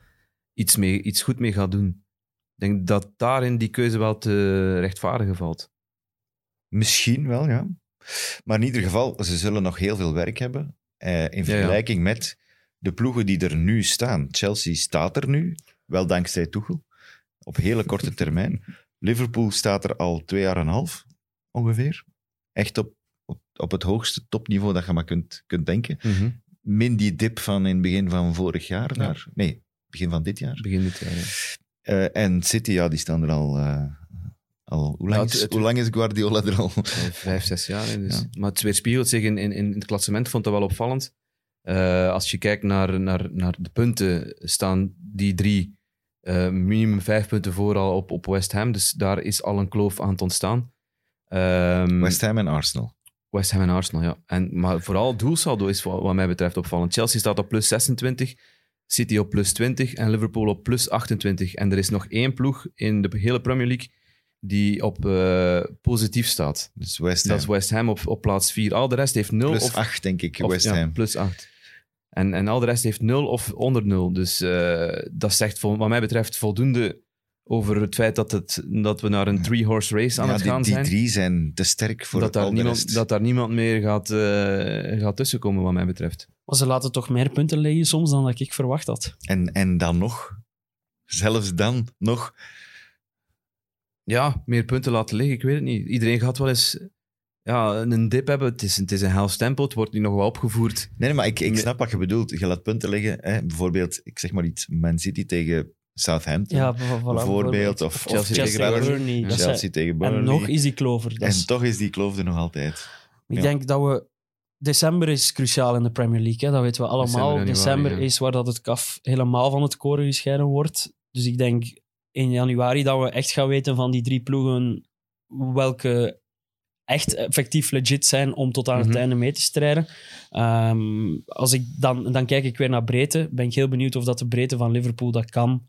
iets, mee, iets goed mee gaat doen. Ik denk dat daarin die keuze wel te rechtvaardigen valt.
Misschien wel, ja. Maar in ieder geval, ze zullen nog heel veel werk hebben eh, in vergelijking met de ploegen die er nu staan. Chelsea staat er nu, wel dankzij Tuchel, op hele korte termijn. Liverpool staat er al twee jaar en een half, ongeveer. Echt op, op, op het hoogste topniveau dat je maar kunt, kunt denken. Min die dip van in het begin van vorig jaar
Ja.
naar... Nee, begin van dit jaar.
Begin dit jaar. ja.
Eh, en City, ja, die staan er al... eh, al hoe, lang
Ja, Nou, het-
is,
het- Mm.
hoe lang is Guardiola er al?
Vijf- Vijf, zes jaar. hè, Dus.
Ja.
Maar het weerspiegelt zich in, in, in het klassement. Ik vond dat wel opvallend. Eh, als je kijkt naar, naar, naar de punten, staan die drie eh, minimum vijf punten voor al op, op West Ham. Dus daar is al een kloof aan het ontstaan. Ehm,
West Ham en Arsenal.
West Ham en Arsenal, ja. En, maar vooral doelsaldo is wat, wat mij betreft opvallend. Chelsea staat op plus 26, City op plus 20 en Liverpool op plus 28. En er is nog één ploeg in de hele Premier League die op eh, positief staat.
Dus West Ham.
Dat is West Ham op, op plaats 4. Al de rest heeft 0
plus
of...
8, denk ik,
of-
West
ja,
Ham.
plus 8. En, en al de rest heeft 0 of onder 0. Dus eh, dat zegt vol- wat mij betreft voldoende over het feit dat, het, dat we naar een three-horse race aan
Ja,
het
die,
gaan
die
zijn
drie zijn te sterk voor
dat,
al
daar
de
niemand,
rest.
dat daar niemand meer gaat, eh, gaat tussenkomen, wat mij betreft.
Maar ze laten toch meer punten liggen soms dan dat ik verwacht had.
En, en dan nog, zelfs dan nog,
Ja, meer punten laten liggen, ik weet het niet. Iedereen gaat wel eens ja, een dip hebben. Het is, het is een helft tempo, het wordt nu nog wel opgevoerd.
Nee, nee, maar ik, ik
Nee.
snap wat je bedoelt. Je laat punten liggen. Hè? Bijvoorbeeld, ik zeg maar iets, Man City tegen Southampton.
Ja, voilà,
bijvoorbeeld. Of, of
Chelsea
Chelsea,
tegen
tegen
Burnley.
Burnley. Dat zijn-
Chelsea tegen Burnley.
En nog is die klover. Dat
En
is-
toch is die kloof er nog altijd.
ik
ja.
denk dat we... December is cruciaal in de Premier League, hè. dat weten we allemaal.
December en
December,
januari, ja.
is waar dat het kaf helemaal van het koren gescheiden wordt. Dus ik denk in januari dat we echt gaan weten van die drie ploegen welke echt effectief legit zijn om tot aan
Mhm.
het einde mee te strijden. Ehm, als ik dan, dan kijk ik weer naar breedte. Ben ik heel benieuwd of dat de breedte van Liverpool dat kan.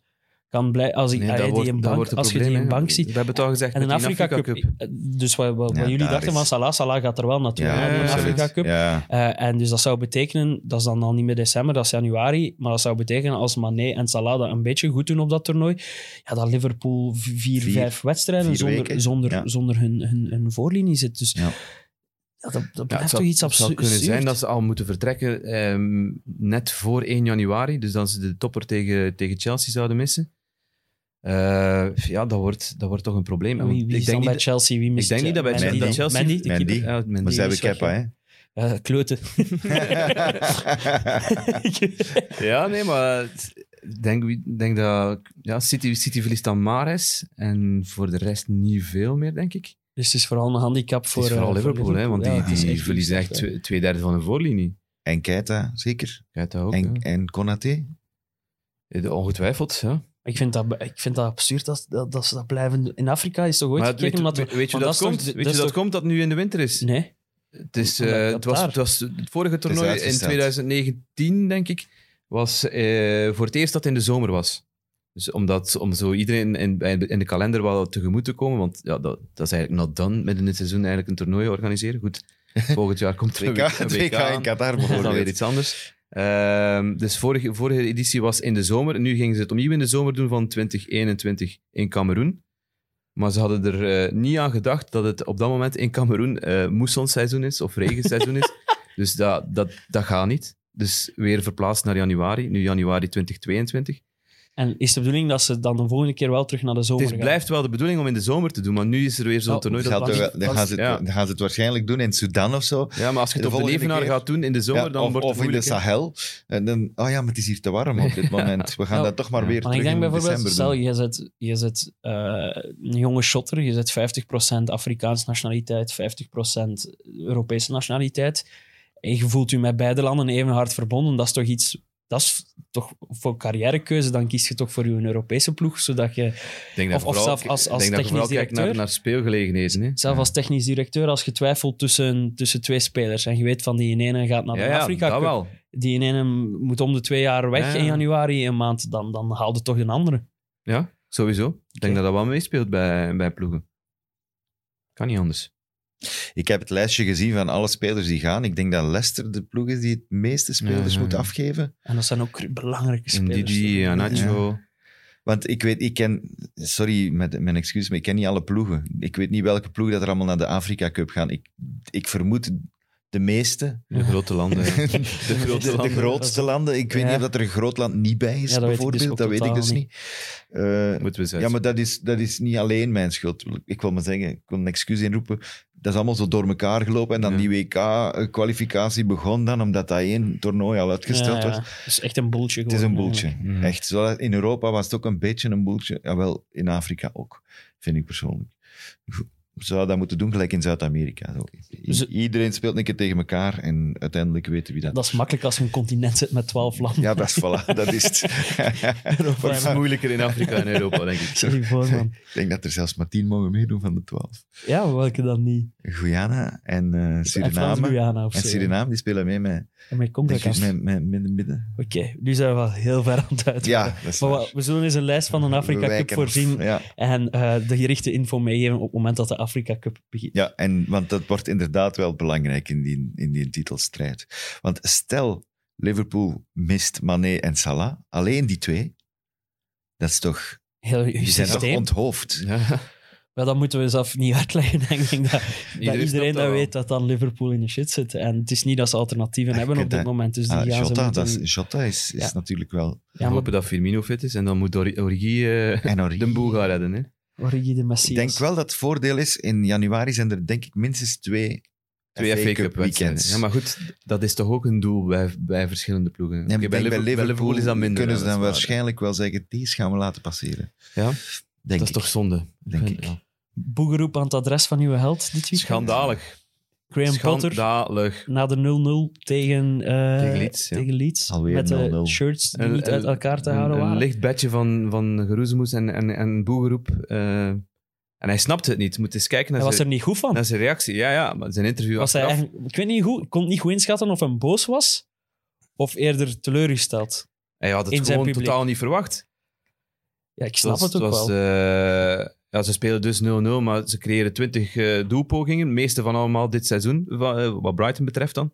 kan blij als, ik,
Nee,
ah,
dat
die
wordt-
in
dat
bank,
wordt een
als je die
probleem,
in
hè.
bank ziet.
We hebben het al gezegd.
En een
met die
Afrika, Cup. Dus wat, wat, wat
Ja,
jullie
daar
dachten
is-
van Salah, Salah gaat er wel naartoe. hè, die
ja,
Afrika
absoluut.
Cup.
Ja.
Eh, en dus dat zou betekenen, dat is dan al niet meer december, dat is januari, maar dat zou betekenen als Mané en Salah dat een beetje goed doen op dat toernooi, ja, dat Liverpool v- vier,
Vier-
vijf wedstrijden
vier
zonder,
weken,
zonder,
ja.
zonder hun, hun, hun voorlinie zit. Dus
Ja.
ja. dat, dat
Ja,
blijft
het zou,
toch iets
het zou
absurds.
kunnen zijn dat ze al moeten vertrekken ehm, net voor 1 januari. Dus dan ze de topper tegen, tegen Chelsea zouden missen. Eh, ja, dat wordt, dat wordt toch een probleem.
Wie, wie
Want
is dan bij Chelsea? Wie mist
denk niet dat bij
Mandy
Chelsea-
dan?
Chelsea-
Mandy, de
Mandy.
keeper?
ja, Mendy
Maar
is
ze hebben
weg,
Kepa, hè?
Eh, kloten.
Ja, nee, maar het- ik Dus denk, ik denk dat ja, City, City verliest dan Mares. En voor de rest niet veel meer, denk ik.
dus het is vooral een handicap voor,
het is
eh,
vooral
voor
Liverpool, hè, want
Ja,
die,
het is
die
echt
verliezen echt
bizar, hè.
twee, twee derde van de voorlinie.
en Keita, zeker.
Kijk, dat ook.
en,
ja.
en Konaté.
Eh, Ongetwijfeld, ja.
Ik vind dat, ik vind dat absurd dat, dat, dat ze dat blijven doen. In Afrika is toch ooit
Maar
gekeken
weet,
omdat we-
weet- weet je
want
dat,
is toch-
komt?
dat
Weet je
is
dat
toch-
komt dat nu in de winter is?
Nee.
Het, is,
Omdat
eh,
dat
het, was,
daar-
het was het vorige toernooi in
uitgesteld.
2019, denk ik, was eh, voor het eerst dat het in de zomer was. Dus omdat, om zo iedereen in, bij- in de kalender wel tegemoet te komen, want ja, dat, dat is eigenlijk not done, midden in het seizoen eigenlijk een toernooi organiseren. Goed, volgend jaar komt er
WK,
een een
WK in
aan.
Qatar
Dat is dan weer
bijvoorbeeld.
iets anders. Ehm, dus vorige, vorige editie was in de zomer. Nu gingen ze het opnieuw in de zomer doen van 2021 in Cameroen. Maar ze hadden er eh, niet aan gedacht dat het op dat moment in Cameroen eh moessonseizoen is of regenseizoen is. Dus dat, dat, dat gaat niet. Dus weer verplaatst naar januari. Nu januari 2022.
En is de bedoeling dat ze dan de volgende keer wel terug naar de zomer
Het is,
gaan?
blijft wel de bedoeling om in de zomer te doen, maar nu is er weer zo'n
Oh,
toernooi.
Nou, Gaat
Dat
er
was-
wel- Dan gaan ze het-
Ja.
dan gaan ze het waarschijnlijk doen in Sudan of zo.
ja, maar als je
De
het op de
volgende
Levenaar
keer.
gaat doen in de zomer,
Ja,
dan
of
wordt het
of in de
moeilijk. hè.
Sahel. En dan, oh ja, maar het is hier te warm op dit moment. We gaan
Ja.
dat toch maar
Ja.
weer
Nou, Maar
terug
ik denk
in
bijvoorbeeld,
december
stel
doen.
je zet, je zet eh, een jonge shotter, je zet 50% Afrikaans nationaliteit, 50% Europese nationaliteit. En je voelt je met beide landen even hard verbonden. Dat is toch iets, dat is toch voor carrièrekeuze, dan kies je toch voor je Europese ploeg, zodat je
Ik denk dat
Of- of
vooral-
zelf als-
ik
als
denk dat je vooral
technisch
kijkt naar,
directeur.
naar speelgelegenheden. Hè.
Zelf als technisch directeur, als je twijfelt tussen, tussen twee spelers en je weet van die in ene gaat naar de
ja, ja,
Afrika
dat
Cup,
wel.
die in ene moet om de twee jaar weg
Ja, ja.
in januari een maand, dan, dan haalde toch een andere.
Ja, sowieso. Ik denk dat dat wel meespeelt bij, bij ploegen. Kan niet anders.
Ik heb het lijstje gezien van alle spelers die gaan. Ik denk dat Leicester de ploeg is die het meeste spelers
ja,
moet
ja.
afgeven.
En dat zijn ook cru- belangrijke spelers.
eh,
eh,
Ndidi, Anacho.
Want ik weet, ik ken... Sorry, met mijn excuus, maar ik ken niet alle ploegen. Ik weet niet welke ploeg dat er allemaal naar de Afrika Cup gaan. Ik, ik vermoed de meeste.
De grote landen. ja.
De,
grote
de
landen.
grootste landen. Ik weet
Ja.
niet of dat er een groot land niet bij is,
Ja, dat weet ik dus
bijvoorbeeld.
ook
dat weet ik
totaal
dus niet.
niet.
Eh,
Moeten we zeggen.
Ja, maar dat is, dat is niet alleen mijn schuld. Ik wil maar zeggen, ik kon een excuus inroepen. Dat is allemaal zo door elkaar gelopen. En dan
Ja.
die WK-kwalificatie begon dan, omdat dat één toernooi al uitgesteld
Ja,
was.
ja. Dat is echt een boeltje.
Het is een boeltje.
Mhm.
Echt. Zo, in Europa was het ook een beetje een boeltje. Jawel, in Afrika ook, vind ik persoonlijk. Zou dat moeten doen, gelijk in Zuid-Amerika. Zo. I-
Ze-
Iedereen speelt een keer tegen elkaar en uiteindelijk weten wie dat
Dat is makkelijk als je een continent zit met 12 landen.
Ja, dat is, voilà, dat is het.
Dat is moeilijker in Afrika en Europa, denk ik.
Stel je voor, man.
ik denk dat er zelfs maar tien mogen meedoen van de twaalf.
Ja, welke dan niet?
Guyana en eh,
En
Suriname.
Frans-Guyana of
En
zo.
Suriname, die spelen mee met,
En met Congo.
denk ik, met, met, met de midden.
Oké, nu zijn we wel heel ver aan het uit.
Ja, dat is
Maar
waar.
we- we zullen eens een lijst van een
We
Afrika Cup
wijken af.
voorzien
Ja.
en eh, de gerichte info meegeven op het moment dat de Afrika Cup begint.
ja, en, want dat wordt inderdaad wel belangrijk in die, in die titelstrijd. Want stel, Liverpool mist Mané en Salah, alleen die twee, dat is toch,
Heel uw
die zijn toch
systeem.
onthoofd.
Ja.
Wel, dat moeten we zelf niet uitleggen, denk ik. Dat, dat
snapt
iedereen dat
wel.
weet dat dan Liverpool in de shit zit. En het is niet dat ze alternatieven
Ja, je
hebben op
kunt
dit
dat-
moment. Dus die
Ah,
gaan ze
Jota, dat
moeten-
is, Jota is, is
Ja.
natuurlijk wel...
We
Ja, maar
hopen dat Firmino fit is en dan moet Ori- Origi eh,
En Origi.
de boel gaan redden. Hè.
Origi de Messias.
Ik denk wel dat het voordeel is, in januari zijn er denk ik minstens twee,
Twee FA Cup weekends.
weekends.
Ja, maar goed, dat is toch ook een doel bij, bij verschillende ploegen.
Nee, maar
Oké,
ik denk bij, Liverpool
is dat minder.
kunnen
hè,
ze
dat
dan
is waar.
waarschijnlijk wel zeggen, deze gaan we laten passeren.
Ja,
Denk
dat is
ik.
toch zonde.
Denk ik.
Ja.
Boegeroep aan het adres van uw held dit weekend.
Schandalig.
Graham Potter
Schandalig.
na de 0-0 tegen, eh,
Tegen Leeds, ja.
tegen Leeds,
Alweer
met de
0-0.
shirts die
Een-
niet
een-
uit elkaar te
Een-
houden
Een
waren.
licht bedje van, van geroezemoes en, en, en boegeroep. eh, en hij snapte het niet. Moet eens kijken
Hij
naar,
was er
zijn,
niet goed van.
naar zijn reactie. Ja, ja, maar zijn interview
Was hij
achteraf.
eigenlijk- ik weet niet goed, ik kon niet goed inschatten of hij boos was of eerder teleurgesteld.
Hij had het
in zijn
gewoon
publiek.
totaal niet verwacht.
Ja, ik snap
Het was-
het ook
het was,
wel.
eh, ja, ze spelen dus 0-0, maar ze creëren 20 eh, doelpogingen. De meeste van allemaal dit seizoen, wa- eh, wat Brighton betreft dan.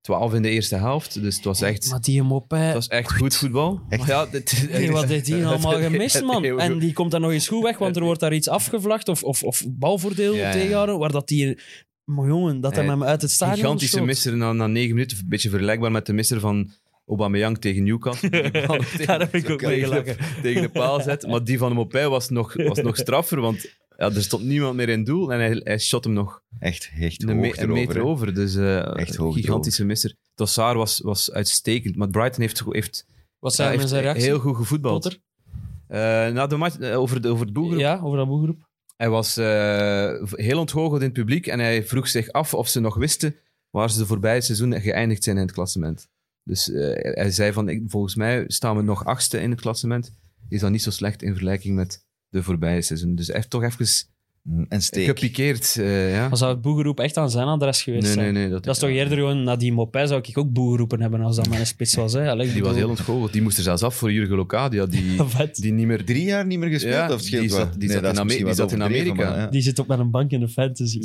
12 in de eerste helft, dus het was echt,
maar die Mopé,
het was echt goed voetbal.
Echt?
Ja, dit,
hey, wat heeft die allemaal gemist, man?
Eeuwig.
En die komt dan nog eens goed weg, want er wordt daar iets afgevlacht of, of, of balvoordeel
Ja, ja.
tegenhouden, waar dat die... Maar jongen, dat hij
Eh,
hem uit het stadion
Gigantische
schoot.
misser na, na 9 minuten. Een beetje vergelijkbaar met de misser van Aubameyang tegen Newcastle. Die bal
Daar heb ik ook mee
tegen,
gelachen.
de, tegen de paal zet. Maar die van Mopé was nog, was nog straffer, want ja, er stond niemand meer in doel en hij, hij shot hem nog
Echt, echt
een, me-
hoog
een meter
erover. hè.
over. Dus eh,
Echt
een
hoog
gigantische misser. Trossard was, was uitstekend, maar Brighton heeft, go- heeft,
Wat
ja,
zijn
heeft
zijn reactie?
heel goed gevoetbald.
Potter?
Eh, na de match, eh, over, de, over het boelgroep,
Ja, over dat boegroep.
hij was eh, heel ontgoocheld in het publiek en hij vroeg zich af of ze nog wisten waar ze de voorbije seizoen geëindigd zijn in het klassement. Dus eh, hij zei van, ik- volgens mij staan we nog achtste in het klassement. Is dat niet zo slecht in vergelijking met de voorbije seizoen. Dus hij heeft toch even
Mm, En steek.
gepikeerd. eh, ja.
Dan zou het boegroep echt aan zijn adres geweest
Nee,
zijn.
nee, nee. Dat,
Dat is toch eerder gewoon, na die Mopé zou ik ook boegeroepen hebben als dat mijn spits was. Hè? Allee, ik
Die was heel
bedoel-
ontgoocheld. Die moest er zelfs af voor Jurgen Locadia, die,
Vet.
die niet meer...
Drie jaar niet meer gespeeld,
Ja,
of het scheelt
die
wat?
zat- die
Nee,
zat
dat is
in Ame-
misschien
die
wat
zat in
overdreven,
Amerika.
maar, ja.
Die zit op met een bank in de fantasy.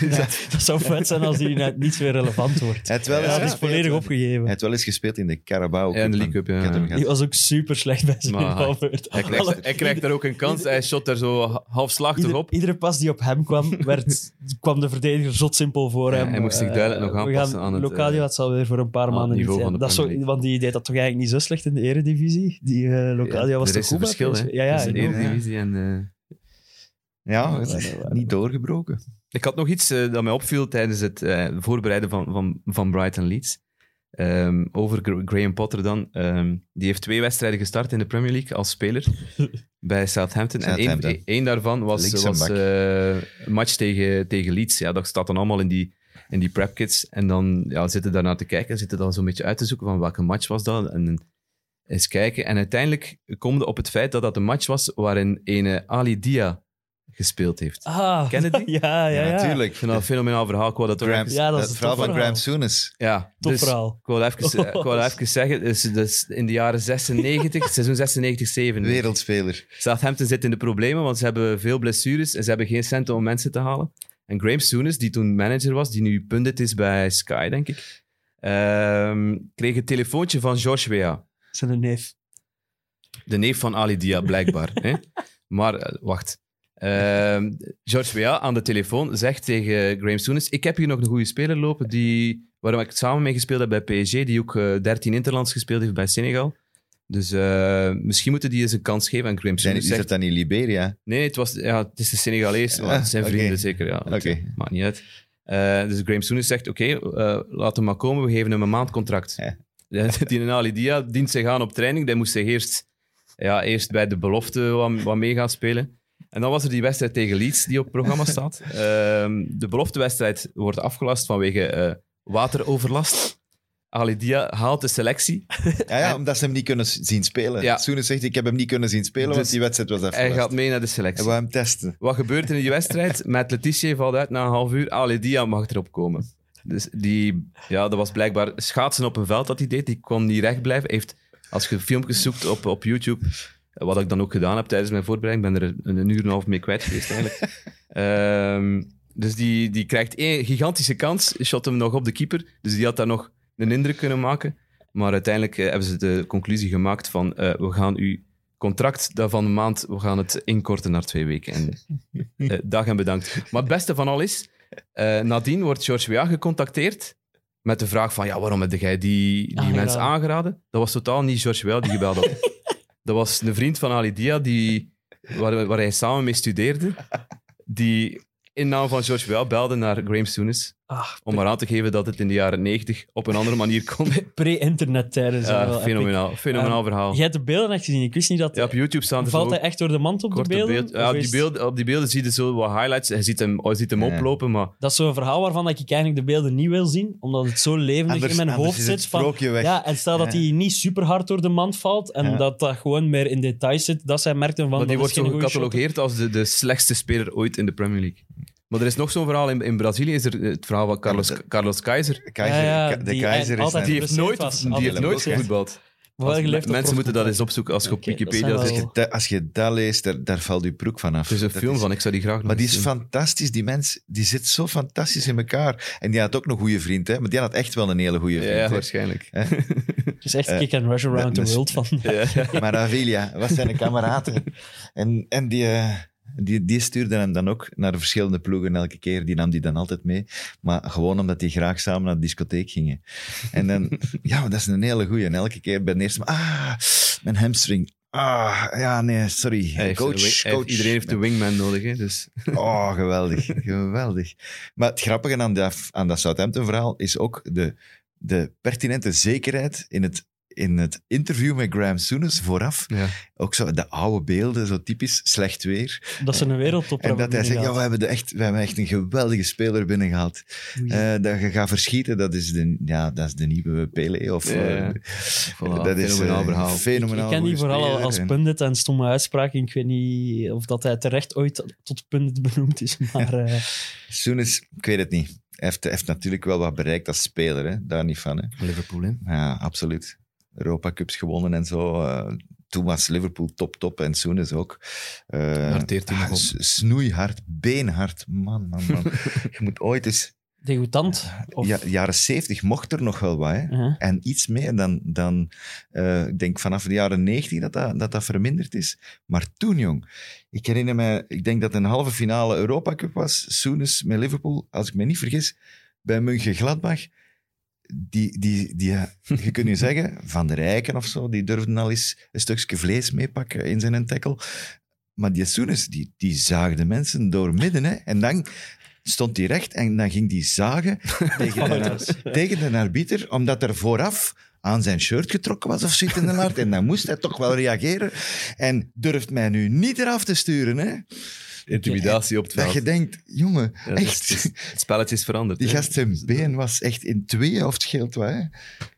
Ja, dat zou vet zijn als die uit niets weer relevant wordt.
Hij heeft wel
Ja,
eens
dat is
gespeeld,
volledig
hè.
opgegeven.
Hij heeft wel eens gespeeld in de Carabao
Ja, in de
Cup,
League Cup,
man.
ja.
Ik had hem gehad.
Die was ook super slecht bij zijn
Maar-
balbeurt.
Hij
Alle-
krijgt, hij krijgt daar ook een kans. Hij shot daar zo halfslachtig
Ieder,
op.
iedere pas die op hem kwam, werd, kwam de verdediger zot simpel voor
Ja,
hem.
hij moest zich
Eh,
duidelijk nog
we
aanpassen
gaan-
aan het,
Locadia
eh,
had zal weer voor een paar
aan het
maanden niet
niveau
zijn.
van de
Dat is zo-
Premier League.
Want die deed dat toch eigenlijk niet zo slecht in de eredivisie? Die eh Locadia
Ja,
was
er
toch
is
goed bij
een verschil, hè.
PSV? Ja, ja,
Dus in de
ik bedoel-
Eredivisie en... eh,
Ja, het
Ja,
is
dat waren
niet doorgebroken.
Ik had nog iets eh, dat mij opviel tijdens het eh, voorbereiden van, van, van Brighton Leeds. Ehm, over Gra- Graham Potter dan. Ehm, die heeft twee wedstrijden gestart in de Premier League als speler bij Southampton. En
Southampton.
één- één daarvan was,
Linkse
was
bak.
eh, een match tegen, tegen Leeds. Ja, dat staat dan allemaal in die, in die prep kits. En dan ja, zitten daarna te kijken, zitten dan zo'n beetje uit te zoeken van welke match was dat. En eens kijken. En uiteindelijk komen we op het feit dat dat een match was waarin een eh, Ali Dia gespeeld heeft.
Ah,
Kennedy?
Ja, ja, ja.
Ik vind dat een fenomenaal verhaal. Ik wou dat toch
Graham,
even-
Ja, dat is
het
een
verhaal
tof
van
verhaal.
Graham Soenis.
ja,
Tof
dus
verhaal.
Ik wou even, eh, ik wou dat even zeggen, dus, dus in de jaren 96, seizoen 96, 97.
Wereldspeler.
Southampton zit in de problemen, want ze hebben veel blessures en ze hebben geen centen om mensen te halen. En Graham Souness, die toen manager was, die nu pundit is bij Sky, denk ik, ehm, kreeg een telefoontje van George Weah,
Zijn neef.
de neef van Ali Dia, blijkbaar. hè? Maar, eh, wacht. Ehm George Weah aan de telefoon zegt tegen Graham Souness, ik heb hier nog een goede speler lopen die, waarom ik samen mee gespeeld heb bij PSG, die ook eh, 13 interlands gespeeld heeft bij Senegal. Dus eh, misschien moeten die eens een kans geven aan Graham
Zijn,
Souness.
is
zegt-
dat dan in Liberia?
Nee, nee, het, was, ja, het is de Senegalees, maar het zijn
Ah,
vrienden
oké.
zeker. Ja. Het
Oké.
Maakt niet uit. Eh, dus Graham Souness zegt, oké, eh, laat hem maar komen, we geven hem een maand contract.
Ja.
Die Ali Dia dient zich aan op training, die moest zich eerst, ja, eerst bij de belofte wat, wat mee gaan spelen. En dan was er die wedstrijd tegen Leeds die op het programma staat. Ehm, de beloftewedstrijd wordt afgelast vanwege eh, wateroverlast. Ali Dia haalt de selectie.
Ja, ja, omdat ze hem niet kunnen s- zien spelen.
Ja.
Soenis zegt, ik heb hem niet kunnen zien spelen, want
Dus
die wedstrijd was
Hij
afgelast.
gaat mee naar de
Hij
selectie.
wou hem testen.
Wat gebeurt er in die wedstrijd? Met Letitia valt uit na een half uur. Ali Dia mag erop komen. Dus die, ja, dat was blijkbaar schaatsen op een veld dat hij deed. Die kon niet recht blijven. Heeft, als je filmpjes zoekt op, op YouTube, wat ik dan ook gedaan heb tijdens mijn voorbereiding, ik ben er een, een uur en een half mee kwijt geweest eigenlijk. Ehm, dus die, die krijgt één gigantische kans. Shot hem nog op de keeper. Dus die had daar nog een indruk kunnen maken. Maar uiteindelijk eh, hebben ze de conclusie gemaakt van eh, we gaan uw contract daarvan een maand, we gaan het inkorten naar twee weken. En eh, dag en bedankt. Maar het beste van al is, eh, nadien wordt George Weah gecontacteerd met de vraag van, ja, waarom heb jij die, die
Aangeraden.
mensen aangeraden? Dat was totaal niet George Weah die gebeld had. dat was een vriend van Ali Dia die waar, waar hij samen mee studeerde, die in naam van George Weah belde naar Graham Souness
Ah,
om eraan te geven dat het in de jaren 90 op een andere manier kon.
pre-internet tijdens.
Ja, fenomenaal, fenomenaal verhaal.
Jij hebt de beelden echt gezien. Ik wist niet dat...
Oh. Ja, op YouTube staan er zo
Eh, valt hij echt door de mand op de
korte
beelden?
beeld-
Of
Ja, op, die
is-
beelden, op die beelden zie je zo wat highlights. Je ziet hem, je ziet hem
Ja.
oplopen, maar
Dat is zo'n verhaal waarvan ik eigenlijk de beelden niet wil zien, omdat het zo levendig
Anders,
in mijn
anders
hoofd
is het
zit. Van,
sprookje weg.
ja, en stel dat
Ja.
hij niet super hard door de mand valt en
Ja.
dat dat gewoon meer in detail zit, dat zij merkten van.
Maar die
dat
wordt
is
zo
geen goeie
gecatalogeerd als de, de slechtste speler ooit in de Premier League. Maar er is nog zo'n verhaal in, in Brazilië, is er eh, het verhaal van Carlos,
Ja, dat-
Carlos Keizer.
De keizer,
Ja, ja,
de
die
keizer is...
altijd
Die
net-
heeft
geblesseerd
nooit,
was.
die
Altijd
heeft nooit
geblesseerd.
gevoetbald.
shot. Wel
Als-
geleefd op
mensen moeten dat eens opzoeken als je op
Oké, dat
Wikipedia
zijn
zit.
als, je dat, als je dat leest, daar, daar valt je broek van af.
Er is een
Dat
film
is-
van, ik zou die graag nog
Maar die
eens
is
zien.
fantastisch, die mens. Die zit zo fantastisch in elkaar. En die had ook een goede vriend, hè? Maar die had echt wel een hele goede
Ja,
vriend. hoor.
waarschijnlijk.
Het is echt
Eh,
kick and rush
dat
around the
is-
world van.
Maravilla, was zijn kameraden. En, en die, eh, die, die stuurde hem dan ook naar verschillende ploegen elke keer. Die nam die dan altijd mee. Maar gewoon omdat die graag samen naar de discotheek gingen. En dan, ja, maar dat is een hele goeie. En elke keer bij de eerste, ah, mijn hamstring. Ah, ja, nee, sorry.
Hij heeft een
coach,
wing- hij
coach.
heeft- Iedereen heeft een wingman nodig, hè, dus...
Oh, geweldig. geweldig. Maar het grappige aan dat, aan dat Southampton-verhaal is ook de, de pertinente zekerheid in het, in het interview met Graham Souness vooraf.
Ja.
Ook zo de oude beelden, zo typisch slecht weer.
Dat ze een wereldtop
En dat hij zegt, ja, we hebben, de echt, we hebben echt een geweldige speler binnengehaald. Eh dat je gaat verschieten, dat is de, ja, dat is de nieuwe Pele. Of,
Ja,
eh,
ja. Voilà,
dat is
fenomenaal
eh,
verhaal.
fenomenaal
ik ken die
goede
vooral
speler.
als
En-
pundit en stomme uitspraken. Ik weet niet of dat hij terecht ooit tot pundit benoemd is. Maar eh,
Souness, ik weet het niet. Hij heeft, heeft natuurlijk wel wat bereikt als speler, hè? daar niet van. Hè?
Liverpool, hè.
Ja, absoluut. Europa Cups gewonnen en zo. eh toen was Liverpool top, top en Soen is ook. eh
Marteert hij nog op.
s- Snoeihard, beenhard. Man, man, man. Je moet ooit eens...
degoûtant. Of,
Ja, jaren zeventig mocht er nog wel wat, hè.
Eh,
En iets meer dan... dan eh, ik denk vanaf de jaren negentig dat dat, dat dat verminderd is. Maar toen, jong. Ik herinner me... Ik denk dat het een halve finale Europa Cup was. Soenes met Liverpool, als ik me niet vergis, bij München Gladbach. Die, die, die, eh, je kunt nu zeggen, Van der Rijken of zo, die durfde al eens een stukje vlees meepakken in zijn tackle. Maar die Soenes, die, die zaagde mensen doormidden. Hè? En dan stond hij recht en dan ging die zagen tegen de, ar- tegen de arbiter, omdat er vooraf aan zijn shirt getrokken was of zit in de laart. En dan moest hij toch wel reageren. En durft mij nu niet eraf te sturen. Hè?
Intimidatie op het
Dat
veld.
je denkt, jongen,
Ja, dat is-
echt...
het is- Het spelletje is veranderd.
Die
hè.
gast zijn been was echt in tweeën of het scheelt wat. Hè?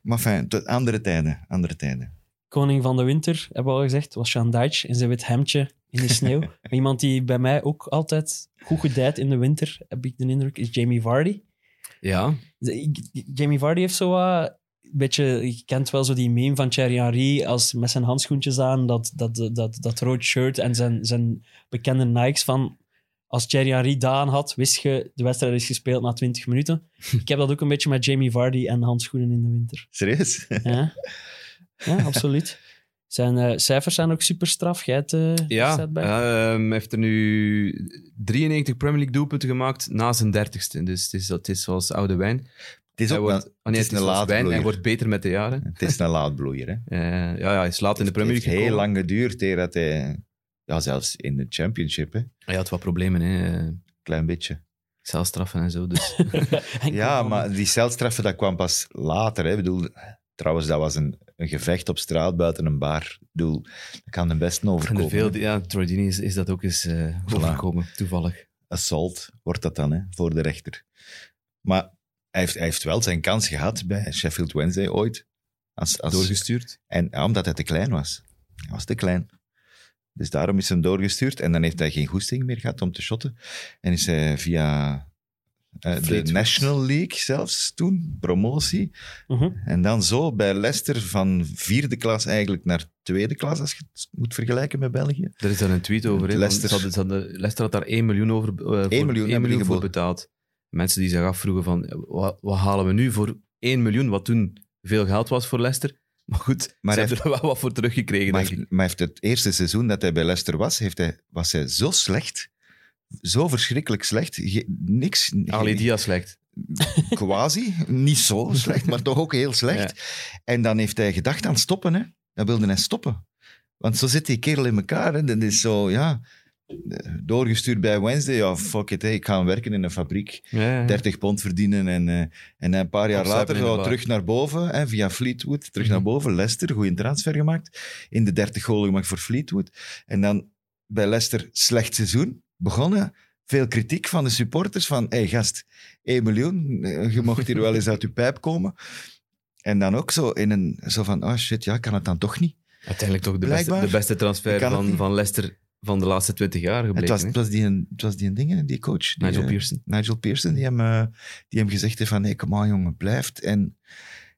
Maar fijn, tot andere tijden. Andere tijden.
Koning van de Winter, hebben we al gezegd, was Sean Dyche in zijn wit hemdje in de sneeuw. Maar iemand die bij mij ook altijd goed gedijt in de winter, heb ik de indruk, is Jamie Vardy.
Ja,
Ik- Jamie Vardy heeft zo wat... een Beetje, je kent wel zo die meme van Thierry Henry als met zijn handschoentjes aan, dat, dat, dat, dat rood shirt en zijn, zijn bekende Nikes van... Als Thierry Henry daar aan had, wist je, de wedstrijd is gespeeld na 20 minuten. Ik heb dat ook een beetje met Jamie Vardy en handschoenen in de winter.
Serieus?
Ja, ja absoluut. Zijn eh, cijfers zijn ook super straf. Jij het, eh,
ja
staat bij.
ehm, heeft er nu 93 Premier League doelpunten gemaakt na zijn 30ste. Dus het is, dat is zoals oude wijn.
Het is
Hij
ook
wordt,
wel-
oh nee, het is een
laat
laatbloeier. Hij
bloeier.
wordt beter met de jaren.
Het is een laadbloeier. Hè?
Eh, ja, ja, hij is laat in de Premier
Het
League
heeft heel
gekomen.
lang geduurd eer dat hij... Ja, zelfs in de championship. Hè?
Hij had wat problemen, hè. Eh,
Klein beetje.
Celstraffen en zo. Dus.
Enkel
Ja,
van-
maar die celstraffen, dat kwam pas later. Hè? Ik bedoel, trouwens, dat was een, een gevecht op straat buiten een bar. Ik bedoel, dat kan de besten
En er
overkomen.
veel, ja, Troy Deeney is, is dat ook eens eh overgekomen, toevallig.
assault wordt dat dan, hè, voor de rechter. Maar hij heeft, hij heeft wel zijn kans gehad bij Sheffield Wednesday ooit. Als, als,
Doorgestuurd.
en ja, omdat hij te klein was. Hij was te klein. Dus daarom is hem doorgestuurd. En dan heeft hij geen goesting meer gehad om te shotten. En is hij via eh, de
Fleetwood.
National League zelfs toen, promotie.
Mhm.
En dan zo bij Leicester van vierde klas eigenlijk naar tweede klas, als je het moet vergelijken met België.
Er is daar een tweet over. hè.
Leicester.
Ze hadden- ze hadden- Leicester had daar 1 miljoen over eh, voor,
1
1
hebben die
miljoen voor
geboden.
betaald. Mensen die zich afvroegen van, eh, wat, wat halen we nu voor 1 miljoen, wat toen veel geld was voor Leicester. Maar goed,
Maar
ze
hij-
hebben er wel wat voor teruggekregen,
Maar,
denk ik.
heeft- maar heeft het eerste seizoen dat hij bij Leicester was, heeft hij, was hij zo slecht. Zo verschrikkelijk slecht. Ge- niks.
Ali
ge-
Diaz lijkt.
Quasi. Niet zo slecht, maar toch ook heel slecht. En dan heeft hij gedacht aan stoppen. Hè. Dan wilde hij stoppen. Want zo zit die kerel in elkaar. Hè. Dat is zo, ja... eh, Doorgestuurd bij Wednesday. Ja, fuck it, hè. ik ga werken in een fabriek.
Ja, ja.
30 pond verdienen. En, eh, en een paar jaar
Of ze
later
hebben in de
zo
bar. Mhm.
terug naar boven, hè, via Fleetwood, terug naar boven. Leicester, goede transfer gemaakt. In de 30 golen gemaakt voor Fleetwood. En dan bij Leicester, slecht seizoen. Begonnen, veel kritiek van de supporters. Van, hé hey, gast, 1 miljoen, eh, je mocht hier wel eens uit je pijp komen. En dan ook zo in een, zo van, oh shit, ja, kan het dan toch niet?
Uiteindelijk toch de beste,
Blijkbaar.
de beste transfer
Ik kan het
van,
niet.
van Leicester van de laatste 20 jaar
Het
gebleken.
was, het was die, een- het was die een ding, hè, die coach. Die,
hè. Nigel
eh,
Pearson.
Nigel Pearson, die hem, eh, die hem gezegd heeft van nee, kom aan jongen, blijft en,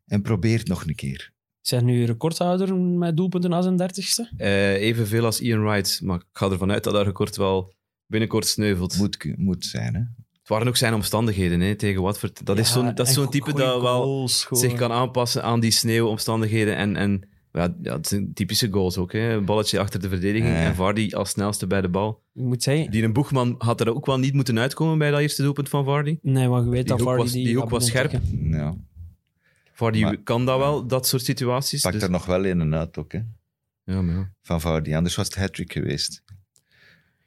en probeert nog een keer.
Zijn nu recordhouder met doelpunten na zijn dertigste?
Eh, evenveel als Ian Wright, maar ik ga ervan uit dat daar gekort wel binnenkort sneuvelt.
Moet, ku- moet zijn, hè.
Het waren ook zijn omstandigheden hè, tegen Watford. Dat is zo'n dat is zo'n type dat wel zich kan aanpassen aan die sneeuwomstandigheden. En, en ja, ja, het zijn typische goals ook. Hè. Een balletje achter de verdediging
Ja.
en Vardy als snelste bij de bal.
Ik moet zeggen,
Die een boegman had er ook wel niet moeten uitkomen bij dat eerste doelpunt van Vardy.
nee, want je weet
Die
dat
hoek
Vardy
was- die hoek
gaat
was
beginnen
scherp.
Ja,
Vardy
Maar-
kan dat wel, dat soort situaties.
pakt
Dus-
er nog wel in en uit ook, hè.
ja, maar ja.
Van Vardy, anders was het hat-trick geweest.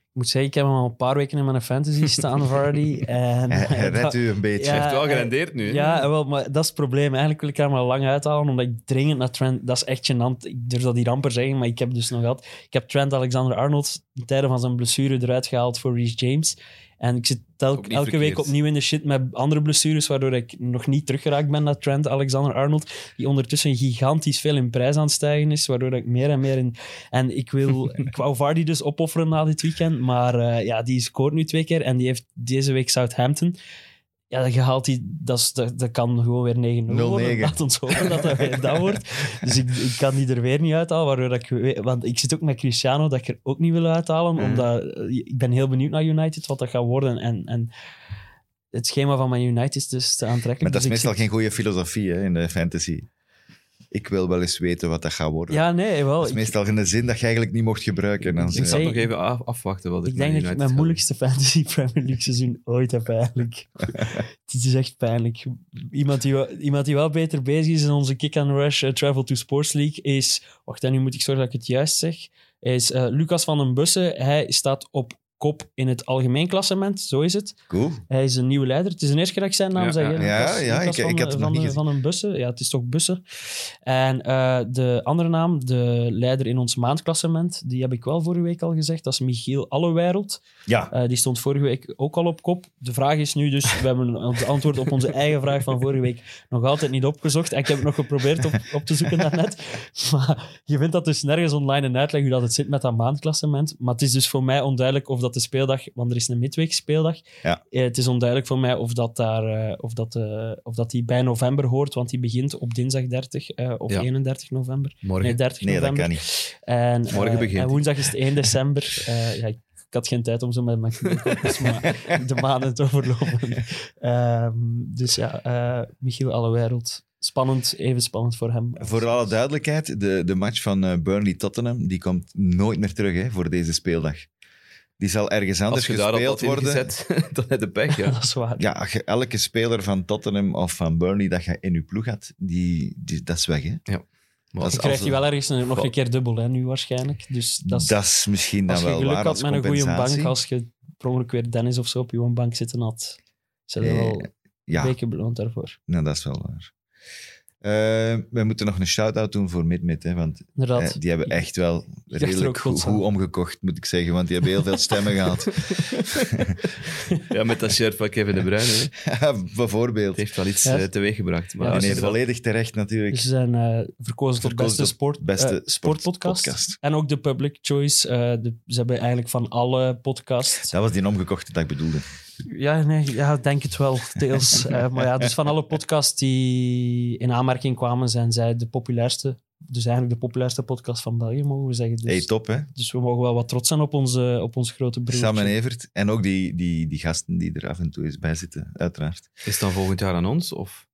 Ik moet zeggen, ik heb hem al een paar weken in mijn fantasy staan, Vardy. En
Hij, hij redt u een beetje.
Ja,
Hij heeft wel
eh,
gerendeerd nu. hè.
Ja, wel, maar dat is het probleem. Eigenlijk wil ik hem al lang uithalen, omdat ik dringend naar Trent... Dat is echt gênant. Ik durf dat hier amper zeggen, maar ik heb dus nog gehad... Ik heb Trent Alexander-Arnold in tijden van zijn blessure eruit gehaald voor Reece James. En ik zit telk-
Ook
elke
niet
week
verkeerd.
opnieuw in de shit met andere blessures, waardoor ik nog niet teruggeraakt ben naar Trent Alexander-Arnold, die ondertussen gigantisch veel in prijs aan het stijgen is, waardoor ik meer en meer in... En ik, wil, ik wou Vardy dus opofferen na dit weekend, maar eh, ja, die scoort nu twee keer en die heeft deze week Southampton. Ja, je haalt die, dat, is, dat, dat kan gewoon weer 9-0 worden.
0-9.
Laat ons hopen dat dat weer dat wordt. Dus ik, ik kan die er weer niet uithalen, waardoor dat ik... weet- Want ik zit ook met Cristiano, dat ik er ook niet wil uithalen,
Mm.
Mhm.
omdat eh, ik ben heel benieuwd naar United, wat dat gaat worden. En, en het schema van mijn United is dus te aantrekkelijk.
Maar dat is
Dus ik
meestal
zit-
geen goede filosofie, hè, in de fantasy. Ik wil wel eens weten wat dat gaat worden.
Ja, nee, wel.
dat is
ik-
meestal een zin dat je eigenlijk niet mocht gebruiken. Dan
Ik
zo,
zal
zei-
ja.
nog even af- afwachten wat
Ik denk dat ik mijn moeilijkste Fantasy Premier League seizoen ooit heb, eigenlijk. Het is echt pijnlijk. Iemand die, wel- iemand die wel beter bezig is in onze Kick and Rush eh, Travel to Sports League is... Wacht, en nu moet ik zorgen dat ik het juist zeg. Is eh, Lucas van den Bussen. Hij staat op kop in het algemeen klassement, zo is het.
Cool.
Hij is een nieuwe leider. Het is de eerste keer dat ik zijn naam
Ja,
zeg. hè,
ja,
Lucas-
ja, ja,
Lucas
ik-
van,
ik had het
eh,
nog niet
van, eh,
gezien.
Van een Bussen. Ja, het is toch Bussen. En eh, de andere naam, de leider in ons maandklassement, die heb ik wel vorige week al gezegd. Dat is Michiel Allewereld.
Ja.
Eh, die stond vorige week ook al op kop. De vraag is nu dus, we hebben het antwoord op onze eigen vraag van vorige week nog altijd niet opgezocht. En ik heb het nog geprobeerd op, op te zoeken daarnet. Maar je vindt dat dus nergens online een uitleg hoe dat het zit met dat maandklassement. Maar het is dus voor mij onduidelijk of dat de speeldag, want er is een midweekspeeldag.
Ja.
Eh, het is onduidelijk voor mij of dat, daar, eh, of, dat, eh, of dat die bij november hoort, want die begint op dinsdag 30 eh, of
Ja.
31 november. Nee,
Morgen.
30
Nee, dat
november.
kan niet.
En, eh,
Morgen begint
en
hij.
woensdag is het 1 december. Eh, ja, ik, ik had geen tijd om zo met mijn knopjes maar de maanden te overlopen. Ehm, dus ja, eh Michiel Allewereld. Spannend, even spannend voor hem.
Voor alle duidelijkheid, de, de match van eh, Burnley-Tottenham, die komt nooit meer terug hè, voor deze speeldag. Die zal ergens
Als
anders
je daar al
gespeeld
had
worden.
ingezet, dan heb je pech. Ja.
Dat is waar.
Ja, als je elke speler van Tottenham of van Burnley dat je in je ploeg had, die, die, dat is weg. Hè?
Maar
Dat
als-
is
Je krijgt
als-
die wel ergens een- nog een keer dubbel, hè, nu waarschijnlijk. Dus dat is,
Dat is misschien dan
als je
Nou, wel
geluk
waar
had
als
met een goede
compensatie.
bank, als je per ongeluk weer Dennis of zo op je bank zitten had, zijn er
Eh,
wel
Ja,
weken beloond daarvoor.
nou, dat is wel waar. Eh, we moeten nog een shout-out doen voor Midmid, hè, want eh,
Inderdaad.
die hebben echt wel
dacht er ook
redelijk goed,
godsnaam.
goed omgekocht, moet ik zeggen, want die hebben heel veel stemmen gehad.
ja, met dat shirt van Kevin De Bruyne. hè.
Bijvoorbeeld.
Het heeft wel iets
Ja.
eh, teweeggebracht. Maar
Ja,
En
als
Oh, nee,
je dat-
volledig terecht natuurlijk.
Dus ze zijn eh, verkozen tot
Verkozen
beste,
tot
sport,
beste
eh, sportpodcast.
sportpodcast.
En ook de public choice. eh, de- ze hebben eigenlijk van alle podcasts...
Dat was die omgekochte dat ik bedoelde.
Dus
Ja, nee, ja, ik denk het wel, deels. Eh, maar ja, dus van alle podcasts die in aanmerking kwamen, zijn zij de populairste. Dus eigenlijk de populairste podcast van België, mogen we zeggen. Dus,
hey, top hè.
dus we mogen wel wat trots zijn op onze, op onze grote broer.
Sam en Evert. En ook die, die, die gasten die er af en toe eens bij zitten, uiteraard.
Is het dan volgend jaar aan ons? Of?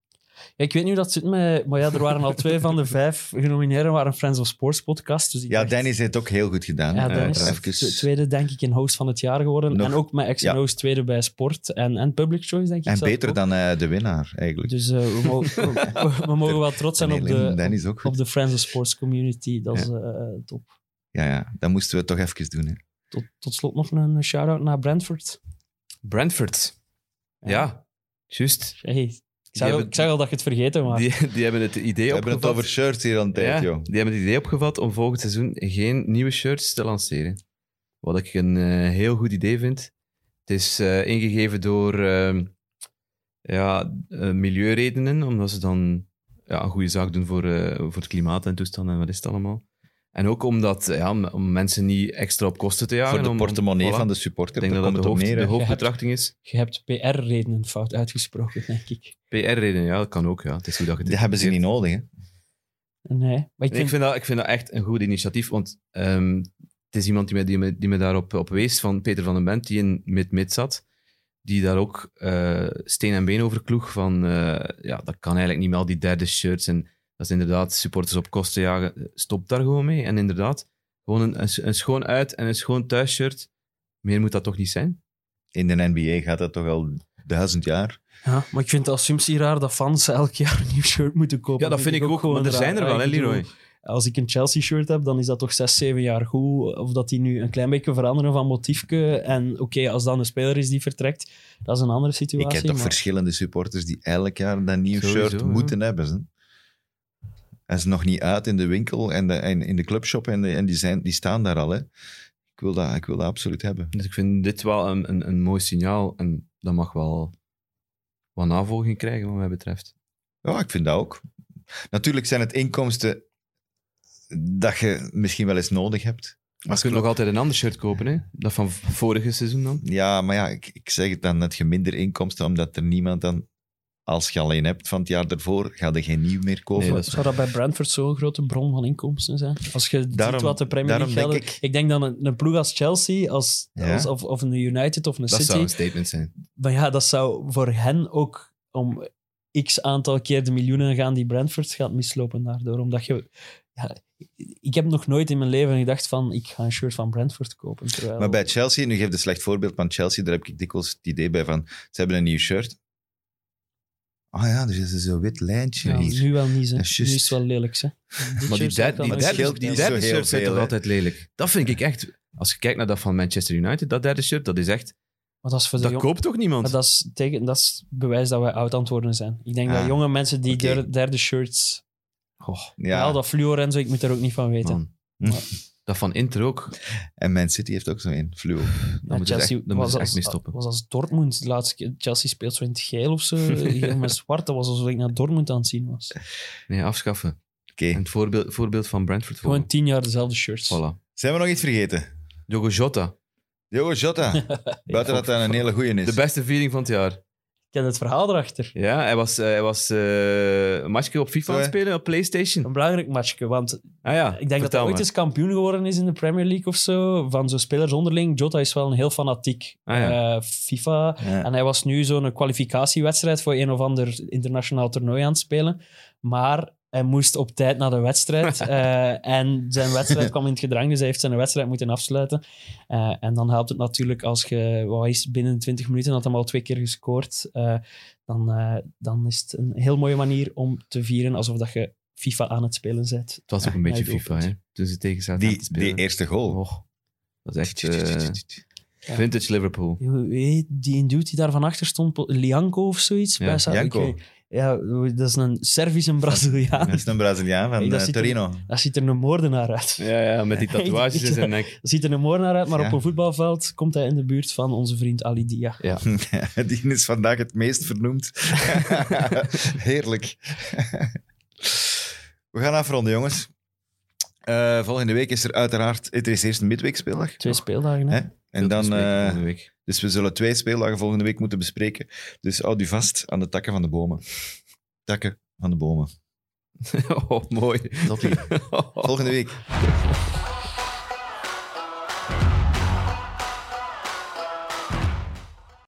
Ja, ik weet niet hoe dat zit met... Maar ja, er waren al twee van de vijf genomineerden waren Friends of Sports podcast. Dus ik
Ja,
dacht-
Dennis heeft het ook heel goed gedaan.
Ja,
eh,
Dennis
uiteraard.
is tw- tweede, denk ik, in host van het jaar geworden.
Nog-
en ook met
ja.
X&O's tweede bij sport en, en public choice, denk ik.
En
zelf
beter
ook.
dan eh, de winnaar, eigenlijk.
Dus eh, we, mogen, we, we mogen wel trots zijn
En
op
Helen
de,
Dennis ook goed.
op de Friends of Sports community. Dat is eh, top.
Ja, ja, dat moesten we toch even doen. Hè.
Tot, tot slot nog een shout-out naar Brentford.
Brentford. Ja, juist.
Eh, Hey, ik, zag al,
hebben-
ik zag al dat je het vergeten was.
Die, die hebben het idee
We hebben het
opgevat.
over shirts hier aan het eind,
Ja,
joh.
die hebben het idee opgevat om volgend seizoen geen nieuwe shirts te lanceren. Wat ik een eh, heel goed idee vind. Het is eh, ingegeven door ehm, ja, eh, milieuredenen, omdat ze dan ja, een goede zaak doen voor, eh, voor het klimaat en toestanden en wat is het allemaal. En ook omdat, eh, ja, om, om mensen niet extra op kosten te jagen.
Voor de
om-
portemonnee
om- voilà.
van de
Ik
supporter.
denk dat dat
daar
de,
komt
hoofd,
het op neer,
de
hè.
hoofdbetrachting is.
Je hebt PR-redenen fout uitgesproken, denk ik.
PR-redenen, ja, dat kan ook. Ja. Het is hoe dat je het
Dat hebben ze niet nodig, hè.
Nee, maar ik
Nee,
vind...
ik, vind dat, ik vind dat echt een goed initiatief, want ehm, het is iemand die me, die me, die me daarop op wees, van Peter van den Bent, die in mid-mid zat, die daar ook eh, steen en been over kloeg van, eh, ja, dat kan eigenlijk niet meer, al die derde shirts en dat is inderdaad supporters op kosten jagen. eh, Stop daar gewoon mee. En inderdaad, gewoon een, een, een schoon uit- en een schoon thuisshirt. Meer moet dat toch niet zijn?
In de NBA gaat dat toch al duizend jaar.
Ja, maar ik vind de assumptie raar dat fans elk jaar een nieuw shirt moeten kopen.
Ja, dat vind ik ook,
gewoon
want er
raar.
zijn er
Ja,
wel, hè,
ik bedoel,
Leroy?
Als ik een Chelsea-shirt heb, dan is dat toch zes, zeven jaar goed. Of dat die nu een klein beetje veranderen van motiefke. En oké, als dan een speler is die vertrekt, dat is een andere situatie.
Ik heb toch
maar-
verschillende supporters die elk jaar dat nieuw
Sowieso,
shirt
ja.
moeten hebben. Hè. Dat is nog niet uit in de winkel en, de, en in de clubshop en, de- en die, zijn, die staan daar al. Hè. Ik, wil dat, ik wil dat absoluut hebben.
Dus ik vind dit wel een, een, een mooi signaal en dat mag wel wat navolging krijgen wat mij betreft.
Ja, ik vind dat ook. Natuurlijk zijn het inkomsten dat je misschien wel eens nodig hebt.
Maar je kunt nog altijd een ander shirt kopen, hè? Dat van v- vorige seizoen dan.
Ja, maar ja, ik, ik zeg het dan net, je minder inkomsten, omdat er niemand dan, als je alleen hebt van het jaar ervoor, ga je geen nieuw meer kopen.
Nee, dat is-
Zou dat bij Brentford zo'n grote bron van inkomsten zijn? Als je
Daarom-
ziet wat de Premier
daarom
League
denk
gelden...
ik-
Ik... denk dat een, een ploeg als Chelsea als,
Ja.
als- of, of een United of een
Dat
City...
zou een statement zijn.
Maar ja, dat zou voor hen ook om x aantal keer de miljoenen gaan die Brentford gaat mislopen daardoor. Omdat je... Ja, ik heb nog nooit in mijn leven gedacht van ik ga een shirt van Brentford kopen. Terwijl...
Maar bij Chelsea, nu geef een slecht voorbeeld van Chelsea, daar heb ik dikwijls het idee bij van, ze hebben een nieuw shirt. Ah ja, dus is er zo'n wit lijntje
Ja,
hier.
nu wel niet, hè.
Dat is
Nu is
juist.
het wel lelijk, hè. Dit
Maar die,
shirt
derde,
kan
die
ook
derde,
scheelt
niet
die
niet
snel.
derde
zo heel
shirts zijn
veel,
toch
hè?
altijd lelijk? Dat vind ik echt... Als je kijkt naar dat van Manchester United, dat derde shirt, dat is echt...
Maar dat is voor de
Dat
jong-
koopt toch
Maar
niemand?
dat is, tegen, dat is bewijs dat wij oud aan het worden zijn. Ik denk
Ah,
dat jonge mensen die
oké.
der- derde shirts...
Goh,
Ja.
Ja,
dat fluor en zo, ik moet er ook niet van weten.
man.
Hm.
Dat van Inter ook.
en Man City heeft ook zo een, fluo.
Ja,
moeten ze
Chelsea
echt- daar moeten
was
ze echt
als-
mee stoppen.
was als Dortmund. De laatste keer Chelsea speelt zo in het geel of zo. geel met zwart. Dat was alsof ik naar Dortmund aan het zien was.
Nee, afschaffen.
Oké.
En het voorbeeld, voorbeeld van Brentford.
Gewoon
volgen.
tien jaar dezelfde shirts.
Voilà.
Zijn we nog iets vergeten?
Diogo Jota.
Diogo Jota. Buiten dat dat een hele goeie is.
De beste viering van het jaar.
Ik ken het verhaal erachter.
Ja, hij was, eh, hij was eh, een matchje op FIFA aan het
Sorry.
spelen, op Playstation.
Een belangrijk matchje, want
Ah ja,
ik denk dat hij
vertel
ooit
maar.
eens kampioen geworden is in de Premier League of zo. Van zo'n spelers onderling. Jota is wel een heel fanatiek
Ah, ja.
eh, FIFA
Ja.
En hij was nu zo'n kwalificatiewedstrijd voor een of ander internationaal toernooi aan het spelen. Maar hij moest op tijd naar de wedstrijd. eh, en zijn wedstrijd kwam in het gedrang, dus hij heeft zijn wedstrijd moeten afsluiten. Eh, en dan helpt het natuurlijk als je wat is, binnen 20 minuten had hij al twee keer gescoord. eh, dan, eh, dan is het een heel mooie manier om te vieren alsof dat je FIFA aan het spelen bent.
Het was ook een
Ja,
beetje
hij
FIFA, hè? Toen ze tegen zaten te
Die,
spelen.
die eerste
Oh,
goal.
Och, dat is echt eh,
Ja.
vintage Liverpool.
Hoe heet Die dude die daar van achter stond, Lianco of zoiets?
Ja,
bij Sa-
Janko.
Oké. Ja, dat is een Servische Braziliaan.
Dat is een Braziliaan van
Hey, dat
eh,
ziet er-
Torino.
Daar ziet er een moordenaar uit.
Ja, ja, met die tatoeages in zijn nek.
Ziet er een moordenaar uit, maar
Ja.
op een voetbalveld komt hij in de buurt van onze vriend Ali Dia.
Die is vandaag het meest vernoemd. Heerlijk. We gaan afronden, jongens. Eh, volgende week is er uiteraard... Er is eerst een midweekspeeldag.
Twee speeldagen. Hè?
Hè? En
Veel te
dan,
bespreken
eh,
volgende week.
dus we zullen twee speeldagen volgende week moeten bespreken. Dus houd u vast aan de takken van de bomen. Takken van de bomen.
oh, mooi.
Volgende week.